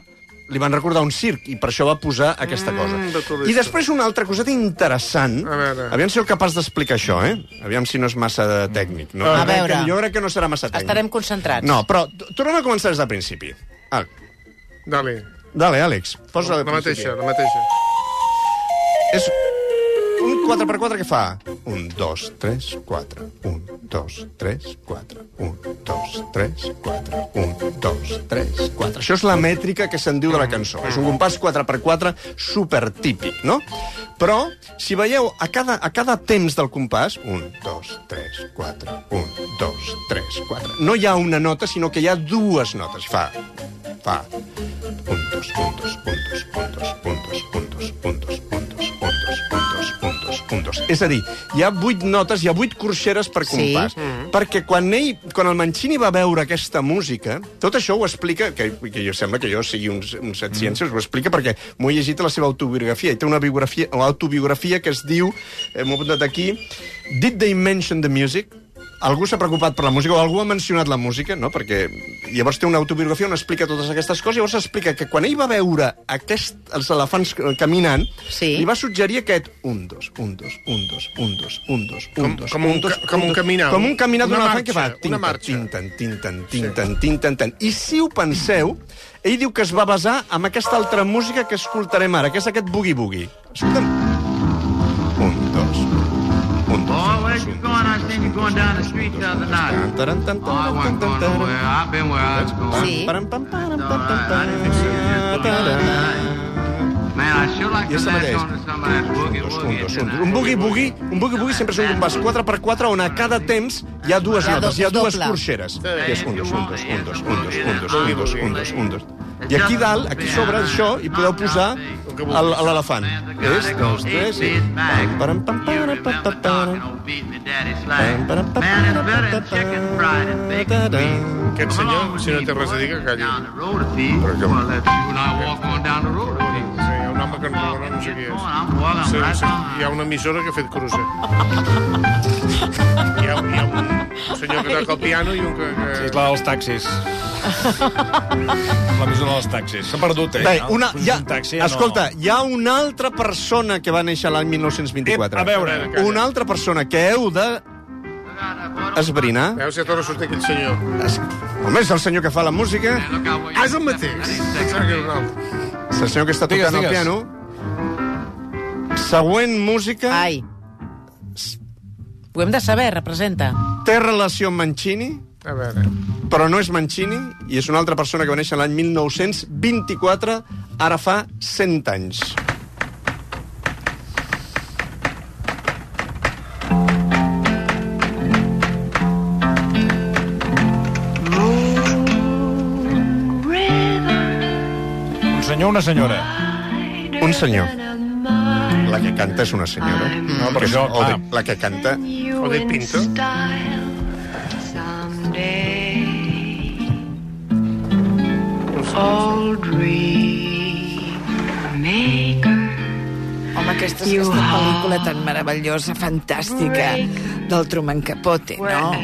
Speaker 2: li van recordar un circ, i per això va posar aquesta
Speaker 3: de
Speaker 2: cosa.
Speaker 3: turista.
Speaker 2: I després una altra coseta interessant.
Speaker 3: A veure.
Speaker 2: Aviam si sou capaç d'explicar això, eh? Aviam si no és massa de tècnic. No?
Speaker 4: A
Speaker 2: Jo crec que-
Speaker 4: veure.
Speaker 2: Jo crec que no serà massa tècnic.
Speaker 4: Estarem concentrats.
Speaker 2: No, però t- tornem a començar des del principi. Ah,
Speaker 3: Dale.
Speaker 2: dale, Àlex, posa
Speaker 3: La
Speaker 2: al principi.
Speaker 3: mateixa, la mateixa.
Speaker 2: És un 4x4 que fa 1, 2, 3, 4, 1, 2, 3, 4, 1, 2, 3, 4, 1, 2, 3, 4. Això és la mètrica que se'n diu de la cançó. És un compàs 4x4 supertípic, no? Però, si veieu, a cada, a cada temps del compàs, 1, 2, 3, 4, 1, 2, 3, 4, no hi ha una nota, sinó que hi ha dues notes. Fa, fa, puntos, puntos, puntos, puntos, puntos, puntos, puntos, puntos, puntos, puntos, puntos, puntos. És a dir, hi ha vuit notes, hi ha vuit corxeres per compàs. Sí. Perquè quan, ell, quan el Mancini va veure aquesta música, tot això ho explica, que, que jo sembla que jo sigui un, un set ciències, ho explica perquè m'ho he llegit a la seva autobiografia. I té una biografia, una autobiografia que es diu, eh, m'ho he apuntat aquí, Did They Mention the Music? algú s'ha preocupat per la música o algú ha mencionat la música, no? Perquè llavors té una autobiografia on explica totes aquestes coses, llavors explica que quan ell va veure aquest, els elefants eh, caminant, sí. li va suggerir aquest un, dos, un, dos, un, dos, un, dos, un, dos, un, dos,
Speaker 3: com un
Speaker 2: dos,
Speaker 3: ca- com un
Speaker 2: dos.
Speaker 3: caminar,
Speaker 2: Com un caminar d'un
Speaker 3: una
Speaker 2: elefant que va...
Speaker 3: marxa, una marxa.
Speaker 2: Tinten, tinten, tinten, tinten, tinten. I si ho penseu, ell diu que es va basar en aquesta altra música que escoltarem ara, que és aquest boogie-boogie. Escoltem. Un, dos, un, dos.
Speaker 10: Oh, where you going? I seen you going down the street the other night.
Speaker 2: Taran, tan, tan,
Speaker 10: Oh, I wasn't going nowhere. I've been where I was going.
Speaker 2: Sí. Param, pam, param, pam, pam,
Speaker 10: I didn't think you were just going down the night. Man, I sure like
Speaker 2: I
Speaker 10: to
Speaker 2: esta
Speaker 10: latch
Speaker 2: mateix.
Speaker 10: on to some of that boogie
Speaker 2: Un, dos, un,
Speaker 10: woogie.
Speaker 2: dos. un boogie-boogie un boogie-boogie sempre surt un vas 4x4 on a cada temps hi ha dues
Speaker 10: Hi ha
Speaker 2: notes, hi ha
Speaker 10: doble.
Speaker 2: dues corxeres. I és un, dos, un, dos, un, dos, un, dos, un, dos, un, dos, un, dos, un, dos. I aquí dalt, aquí sobre això, hi podeu posar el- a l'elefant. És, dos, tres, i... Pam, param, pam, param, pam, pam, pam. Pam, param, pam, param, pam, pam, pam, pam.
Speaker 3: Aquest senyor, si no té res a dir, que calli.
Speaker 10: Però
Speaker 3: Hi
Speaker 10: que...
Speaker 3: ha un home que no, no sé qui és. Sí, sí, hi ha una emissora que ha fet cruza. Hi ha, hi ha un senyor que toca el piano i un que... que...
Speaker 1: És la dels taxis. La mesura dels taxis. S'ha perdut, eh?
Speaker 2: Bé, una,
Speaker 1: Puges
Speaker 2: hi ha,
Speaker 1: un taxi, no.
Speaker 2: escolta, hi ha una altra persona que va néixer l'any 1924.
Speaker 1: Ep, Eh, a veure, calla.
Speaker 2: Una altra persona que heu de esbrinar.
Speaker 3: Veus si a torna a sortir aquell senyor.
Speaker 2: Es... Home, és el senyor que fa la música,
Speaker 3: És el mateix.
Speaker 2: és el senyor que està
Speaker 3: Digues,
Speaker 2: tocant el
Speaker 3: digues.
Speaker 2: piano. Següent música... Ai.
Speaker 4: Ho hem de saber, representa.
Speaker 2: Té relació amb Mancini,
Speaker 3: A veure.
Speaker 2: però no és Mancini, i és una altra persona que va néixer l'any 1924, ara fa 100 anys.
Speaker 1: Un senyor o una senyora?
Speaker 2: Un senyor. La que canta és una senyora. No,
Speaker 1: per això,
Speaker 2: o de,
Speaker 1: clar.
Speaker 2: la que canta...
Speaker 3: O de pinta.
Speaker 10: Old
Speaker 9: Home, aquesta, aquesta pel·lícula tan meravellosa, fantàstica, del Truman Capote, no?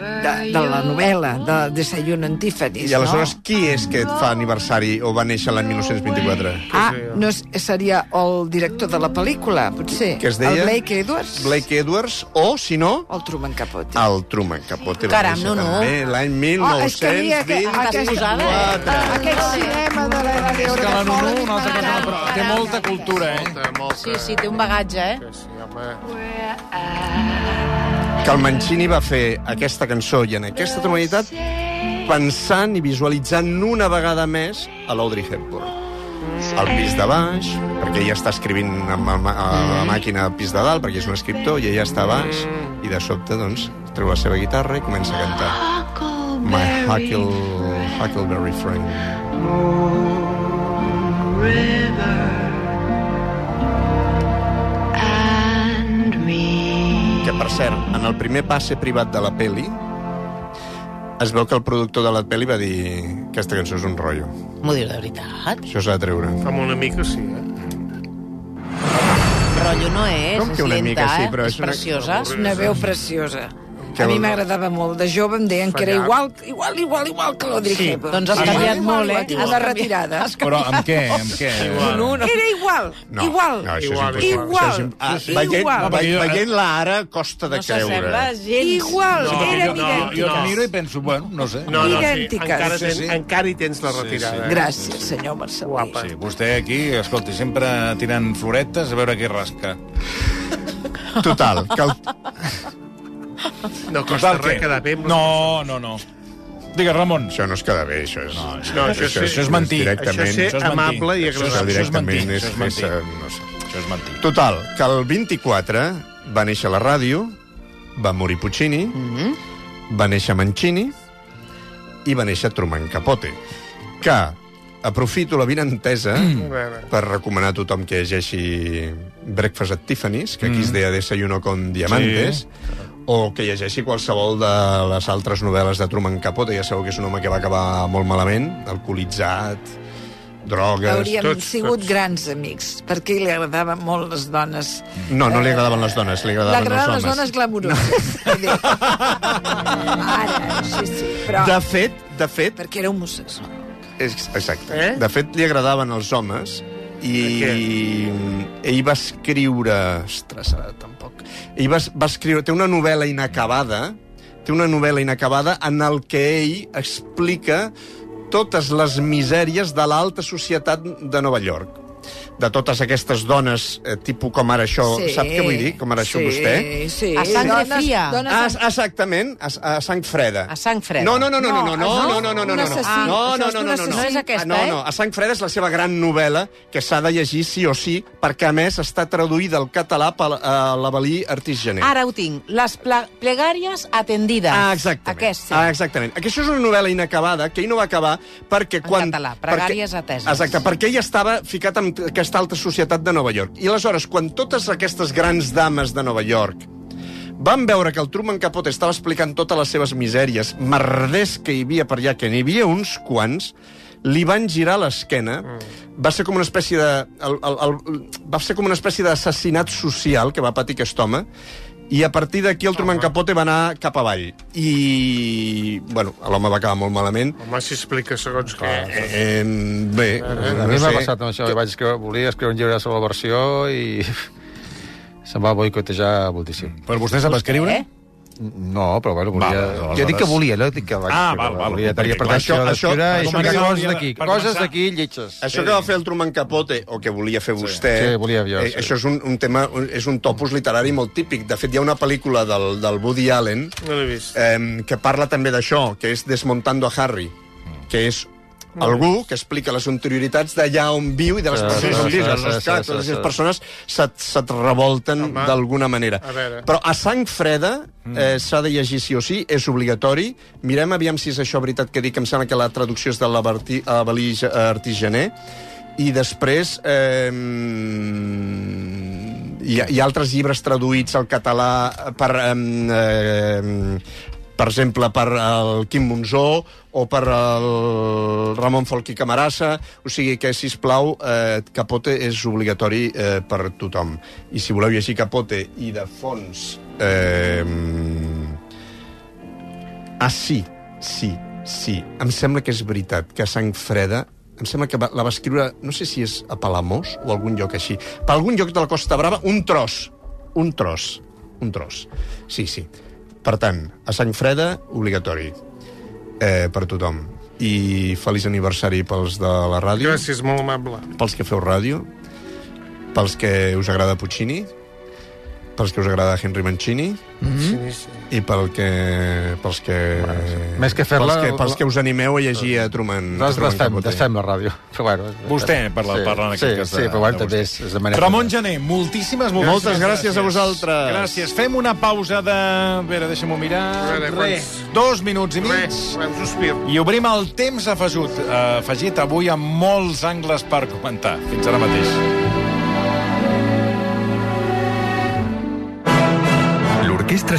Speaker 9: De, de la novel·la, de Desayuno en Tiffany's,
Speaker 2: I aleshores,
Speaker 9: no?
Speaker 2: qui és que fa aniversari o va néixer l'any 1924?
Speaker 9: Ah,
Speaker 2: eh,
Speaker 9: no és, seria el director de la pel·lícula, potser?
Speaker 2: Que es deia?
Speaker 9: El Blake Edwards?
Speaker 2: Blake Ah, Edwards o, si no...
Speaker 9: El Truman Capote.
Speaker 2: El Truman Capote. va
Speaker 9: Caram,
Speaker 2: néixer
Speaker 9: no, no.
Speaker 2: també L'any
Speaker 9: Oh, és que hi ha que-
Speaker 2: 1924.
Speaker 9: Ah, Aquest cinema de la... de
Speaker 1: És que la Nunu, una altra que
Speaker 4: m'agrada,
Speaker 1: però té molta cultura, eh?
Speaker 3: Molta, molta.
Speaker 4: Sí, sí, té un bagatge, eh?
Speaker 2: Que el Mancini va fer aquesta cançó i en aquesta tonalitat pensant i visualitzant una vegada més a l'Audrey Hepburn. Al pis de baix, perquè ella està escrivint amb, amb, amb la màquina al pis de dalt, perquè és un escriptor, i ella està a baix, i de sobte, doncs, treu la seva guitarra i comença a cantar. My Huckle, Huckleberry Friend. Que, per cert, en el primer passe privat de la peli es veu que el productor de la peli va dir aquesta cançó és un rotllo.
Speaker 4: M'ho dius de veritat?
Speaker 2: Això s'ha de treure.
Speaker 3: Amb una mica sí, eh?
Speaker 4: Rotllo no és,
Speaker 2: Com que
Speaker 4: és
Speaker 2: una
Speaker 4: lenta,
Speaker 2: mica sí,
Speaker 4: eh?
Speaker 2: però és una-
Speaker 4: preciosa.
Speaker 9: És una veu preciosa.
Speaker 2: Que
Speaker 9: a mi
Speaker 2: vol-
Speaker 9: m'agradava molt. De jove em deien que era
Speaker 1: Fallar.
Speaker 9: igual, igual, igual, igual que l'Audrey
Speaker 1: Sí,
Speaker 9: Hepburn.
Speaker 1: doncs has canviat
Speaker 9: igual,
Speaker 4: molt, eh?
Speaker 9: igual, A la retirada.
Speaker 1: Però amb què? Amb què?
Speaker 9: No, no. Era igual,
Speaker 2: No,
Speaker 9: igual.
Speaker 2: no, això és
Speaker 9: igual,
Speaker 2: impossible.
Speaker 9: igual,
Speaker 2: Això és im- ah,
Speaker 9: igual.
Speaker 2: veient-
Speaker 9: igual.
Speaker 2: ve- Veient-la ara costa de creure.
Speaker 9: gens. Igual,
Speaker 1: No,
Speaker 4: Ah,
Speaker 9: era
Speaker 1: jo, no,
Speaker 9: idèntica.
Speaker 1: jo et miro i penso, bueno, no sé.
Speaker 3: No, no, sí,
Speaker 9: Idèntiques.
Speaker 3: encara,
Speaker 9: Sí,
Speaker 3: ten,
Speaker 1: sí.
Speaker 3: encara hi tens la retirada. eh? Sí,
Speaker 1: Sí, sí.
Speaker 3: sí.
Speaker 9: Gràcies, senyor Marcelí. Guapa.
Speaker 1: Sí, vostè aquí, escolti, sempre tirant floretes a veure què rasca.
Speaker 2: (laughs) Total, que el...
Speaker 3: No costa
Speaker 1: Total,
Speaker 3: res
Speaker 1: què?
Speaker 3: quedar bé amb
Speaker 1: No, no, no. Digues, Ramon.
Speaker 2: Això no es queda bé, això és... No,
Speaker 3: no, això sí.
Speaker 1: Això és mentir.
Speaker 2: Directament,
Speaker 3: Això és ser
Speaker 1: és mentir.
Speaker 3: amable i
Speaker 1: Això és-
Speaker 3: agradable.
Speaker 1: Això és mentir.
Speaker 2: directament
Speaker 1: Això és
Speaker 2: és...
Speaker 1: mentir.
Speaker 2: és no sé.
Speaker 1: Això és mentir.
Speaker 2: Total, que el 24 va néixer la ràdio, va morir Puccini,
Speaker 9: Mhm.
Speaker 2: va néixer Mancini i va néixer Truman Capote, que aprofito la vinentesa
Speaker 9: Mm.
Speaker 2: per recomanar a tothom que llegeixi Breakfast at Tiffany's, que
Speaker 9: Mm.
Speaker 2: aquí es deia Desayuno con Diamantes, o que llegeixi qualsevol de les altres novel·les de Truman Capote. Ja sabeu que és un home que va acabar molt malament, alcoholitzat, drogues...
Speaker 9: Hauríem tots, sigut tots. grans amics, perquè li agradaven molt les dones.
Speaker 2: No, no li agradaven les dones, li agradaven,
Speaker 9: li agradaven les dones (laughs) glamuroses. No. Ara, sí, sí, però...
Speaker 2: De fet, de fet...
Speaker 9: Perquè era homosexual.
Speaker 2: Exacte. Eh? De fet, li agradaven els homes i ell va escriure... Ostres, ara tampoc... Ell va, va escriure... Té una novel·la inacabada, té una novel·la inacabada en el que ell explica totes les misèries de l'alta societat de Nova York de totes aquestes dones, eh, tipus com ara això, sí, sap què vull dir? Com ara sí, això vostè?
Speaker 9: Eh, Sí,
Speaker 4: A sang
Speaker 9: dones-
Speaker 4: fria.
Speaker 9: dones
Speaker 2: Ah, exactament, a, a sang freda.
Speaker 4: A sang freda. Ah,
Speaker 2: No, no, no, no, no, no, no, no, no, no, no,
Speaker 4: Un
Speaker 2: no,
Speaker 4: assassí.
Speaker 2: no,
Speaker 4: Ah,
Speaker 2: no, no,
Speaker 4: això és
Speaker 2: no, no,
Speaker 4: d'un
Speaker 2: Ah,
Speaker 4: assassí. No és aquesta,
Speaker 2: no,
Speaker 4: eh?
Speaker 2: no, a sang freda és la seva gran novel·la que s'ha de llegir sí o sí, perquè a més està traduïda al català per eh, l'avalí Artís Gené.
Speaker 4: Ara ho tinc. Les pla- plegàries atendides.
Speaker 2: Ah, exactament.
Speaker 4: Aquesta.
Speaker 2: Ah, exactament. Aquesta és una novel·la inacabada, que ell no va acabar perquè...
Speaker 4: En
Speaker 2: quan,
Speaker 4: català, pregàries ateses.
Speaker 2: Exacte, perquè ell estava ficat en aquesta alta societat de Nova York. I aleshores, quan totes aquestes grans dames de Nova York van veure que el Truman Capote estava explicant totes les seves misèries, merders que hi havia per allà, que n'hi havia uns quants, li van girar l'esquena. Mm. Va ser com una espècie de... El, el, el, va ser com una espècie d'assassinat social que va patir aquest home, i a partir d'aquí el Truman Capote va anar cap avall. I, bueno, l'home va acabar molt malament.
Speaker 3: Home, si explica segons què.
Speaker 2: Eh, eh, bé,
Speaker 6: Eh,
Speaker 1: Doncs
Speaker 6: A mi m'ha passat amb això. Jo vaig escriure, volia escriure un llibre sobre la versió i (laughs) se'm va boicotejar moltíssim.
Speaker 1: Mm.
Speaker 7: Però vostè sap escriure?
Speaker 6: No, però bueno, volia...
Speaker 7: Val,
Speaker 6: jo dic que
Speaker 7: aleshores.
Speaker 6: volia, no dic que vaig
Speaker 1: Ah,
Speaker 6: escriure,
Speaker 1: val, val.
Speaker 6: Volia, tenia
Speaker 1: Perquè,
Speaker 6: per
Speaker 1: clar,
Speaker 6: això,
Speaker 1: això-
Speaker 6: d'escriure
Speaker 1: això-
Speaker 6: i
Speaker 1: això
Speaker 6: explicar
Speaker 1: que
Speaker 6: coses
Speaker 1: hauria de-
Speaker 6: d'aquí.
Speaker 1: per
Speaker 6: Coses
Speaker 1: començar.
Speaker 6: d'aquí lletges.
Speaker 2: Això que va fer el Truman Capote, o que volia fer vostè...
Speaker 6: Sí, volia jo,
Speaker 2: eh,
Speaker 6: sí.
Speaker 2: Això és un, un tema, un, és un topus literari molt típic. De fet, hi ha una pel·lícula del, del Woody Allen
Speaker 3: No l'he vist.
Speaker 2: eh, que parla també d'això, que és Desmontando a Harry, que és algú que explica les interioritats d'allà on viu i de les
Speaker 6: Sí,
Speaker 2: persones
Speaker 6: sí,
Speaker 2: on
Speaker 6: sí,
Speaker 2: viu.
Speaker 6: sí,
Speaker 2: Les
Speaker 6: sí,
Speaker 2: esclar,
Speaker 6: sí,
Speaker 2: totes
Speaker 6: sí,
Speaker 2: aquestes
Speaker 6: sí.
Speaker 2: persones se't, se't revolten
Speaker 3: Home.
Speaker 2: d'alguna manera.
Speaker 3: A veure.
Speaker 2: Però a sang freda eh, s'ha de llegir sí o sí, és obligatori. Mirem aviam si és això veritat que dic, que em sembla que la traducció és de l'Avalí Artigener. I després... Eh, hi, ha, hi ha altres llibres traduïts al català per... Eh, eh, per exemple, per el Quim Monzó o per el Ramon Folquí Camarassa. O sigui que, si plau, eh, Capote és obligatori eh, per tothom. I si voleu llegir Capote i de fons... Eh, ah, sí, sí, sí. Em sembla que és veritat que Sang Freda em sembla que va, la va escriure, no sé si és a Palamós o algun lloc així, per algun lloc de la Costa Brava, un tros, un tros, un tros. Sí, sí. Per tant, a sang freda, obligatori eh, per tothom. I feliç aniversari pels de la ràdio,
Speaker 3: Gràcies, molt amable.
Speaker 2: pels que feu ràdio, pels que us agrada Puccini, pels que us agrada Henry Mancini
Speaker 9: Mm?
Speaker 3: Sí, sí.
Speaker 2: i pel que, pels que...
Speaker 6: Més que fer-la-
Speaker 2: Pels, que- pels que us animeu a llegir a Truman.
Speaker 6: Nosaltres
Speaker 2: Truman
Speaker 6: desfem,
Speaker 2: Capote.
Speaker 6: desfem la ràdio. Però bueno,
Speaker 1: Vostè parla-
Speaker 6: sí,
Speaker 1: parla en aquest
Speaker 6: sí,
Speaker 1: cas de-
Speaker 6: Sí, però bueno,
Speaker 1: de
Speaker 6: també és,
Speaker 1: vostè.
Speaker 6: és de manera...
Speaker 1: Ramon Gené, moltíssimes,
Speaker 2: Moltes
Speaker 1: moltíssimes
Speaker 2: gràcies a vosaltres.
Speaker 1: Gràcies. Fem una pausa de... A veure, deixa'm-ho mirar.
Speaker 3: A veure,
Speaker 1: Res.
Speaker 3: quants-
Speaker 1: Dos minuts i mig.
Speaker 3: Res, un sospir.
Speaker 1: I obrim el temps afegit, eh, afegit avui amb molts angles per comentar. Fins ara mateix.
Speaker 11: L'Orquestra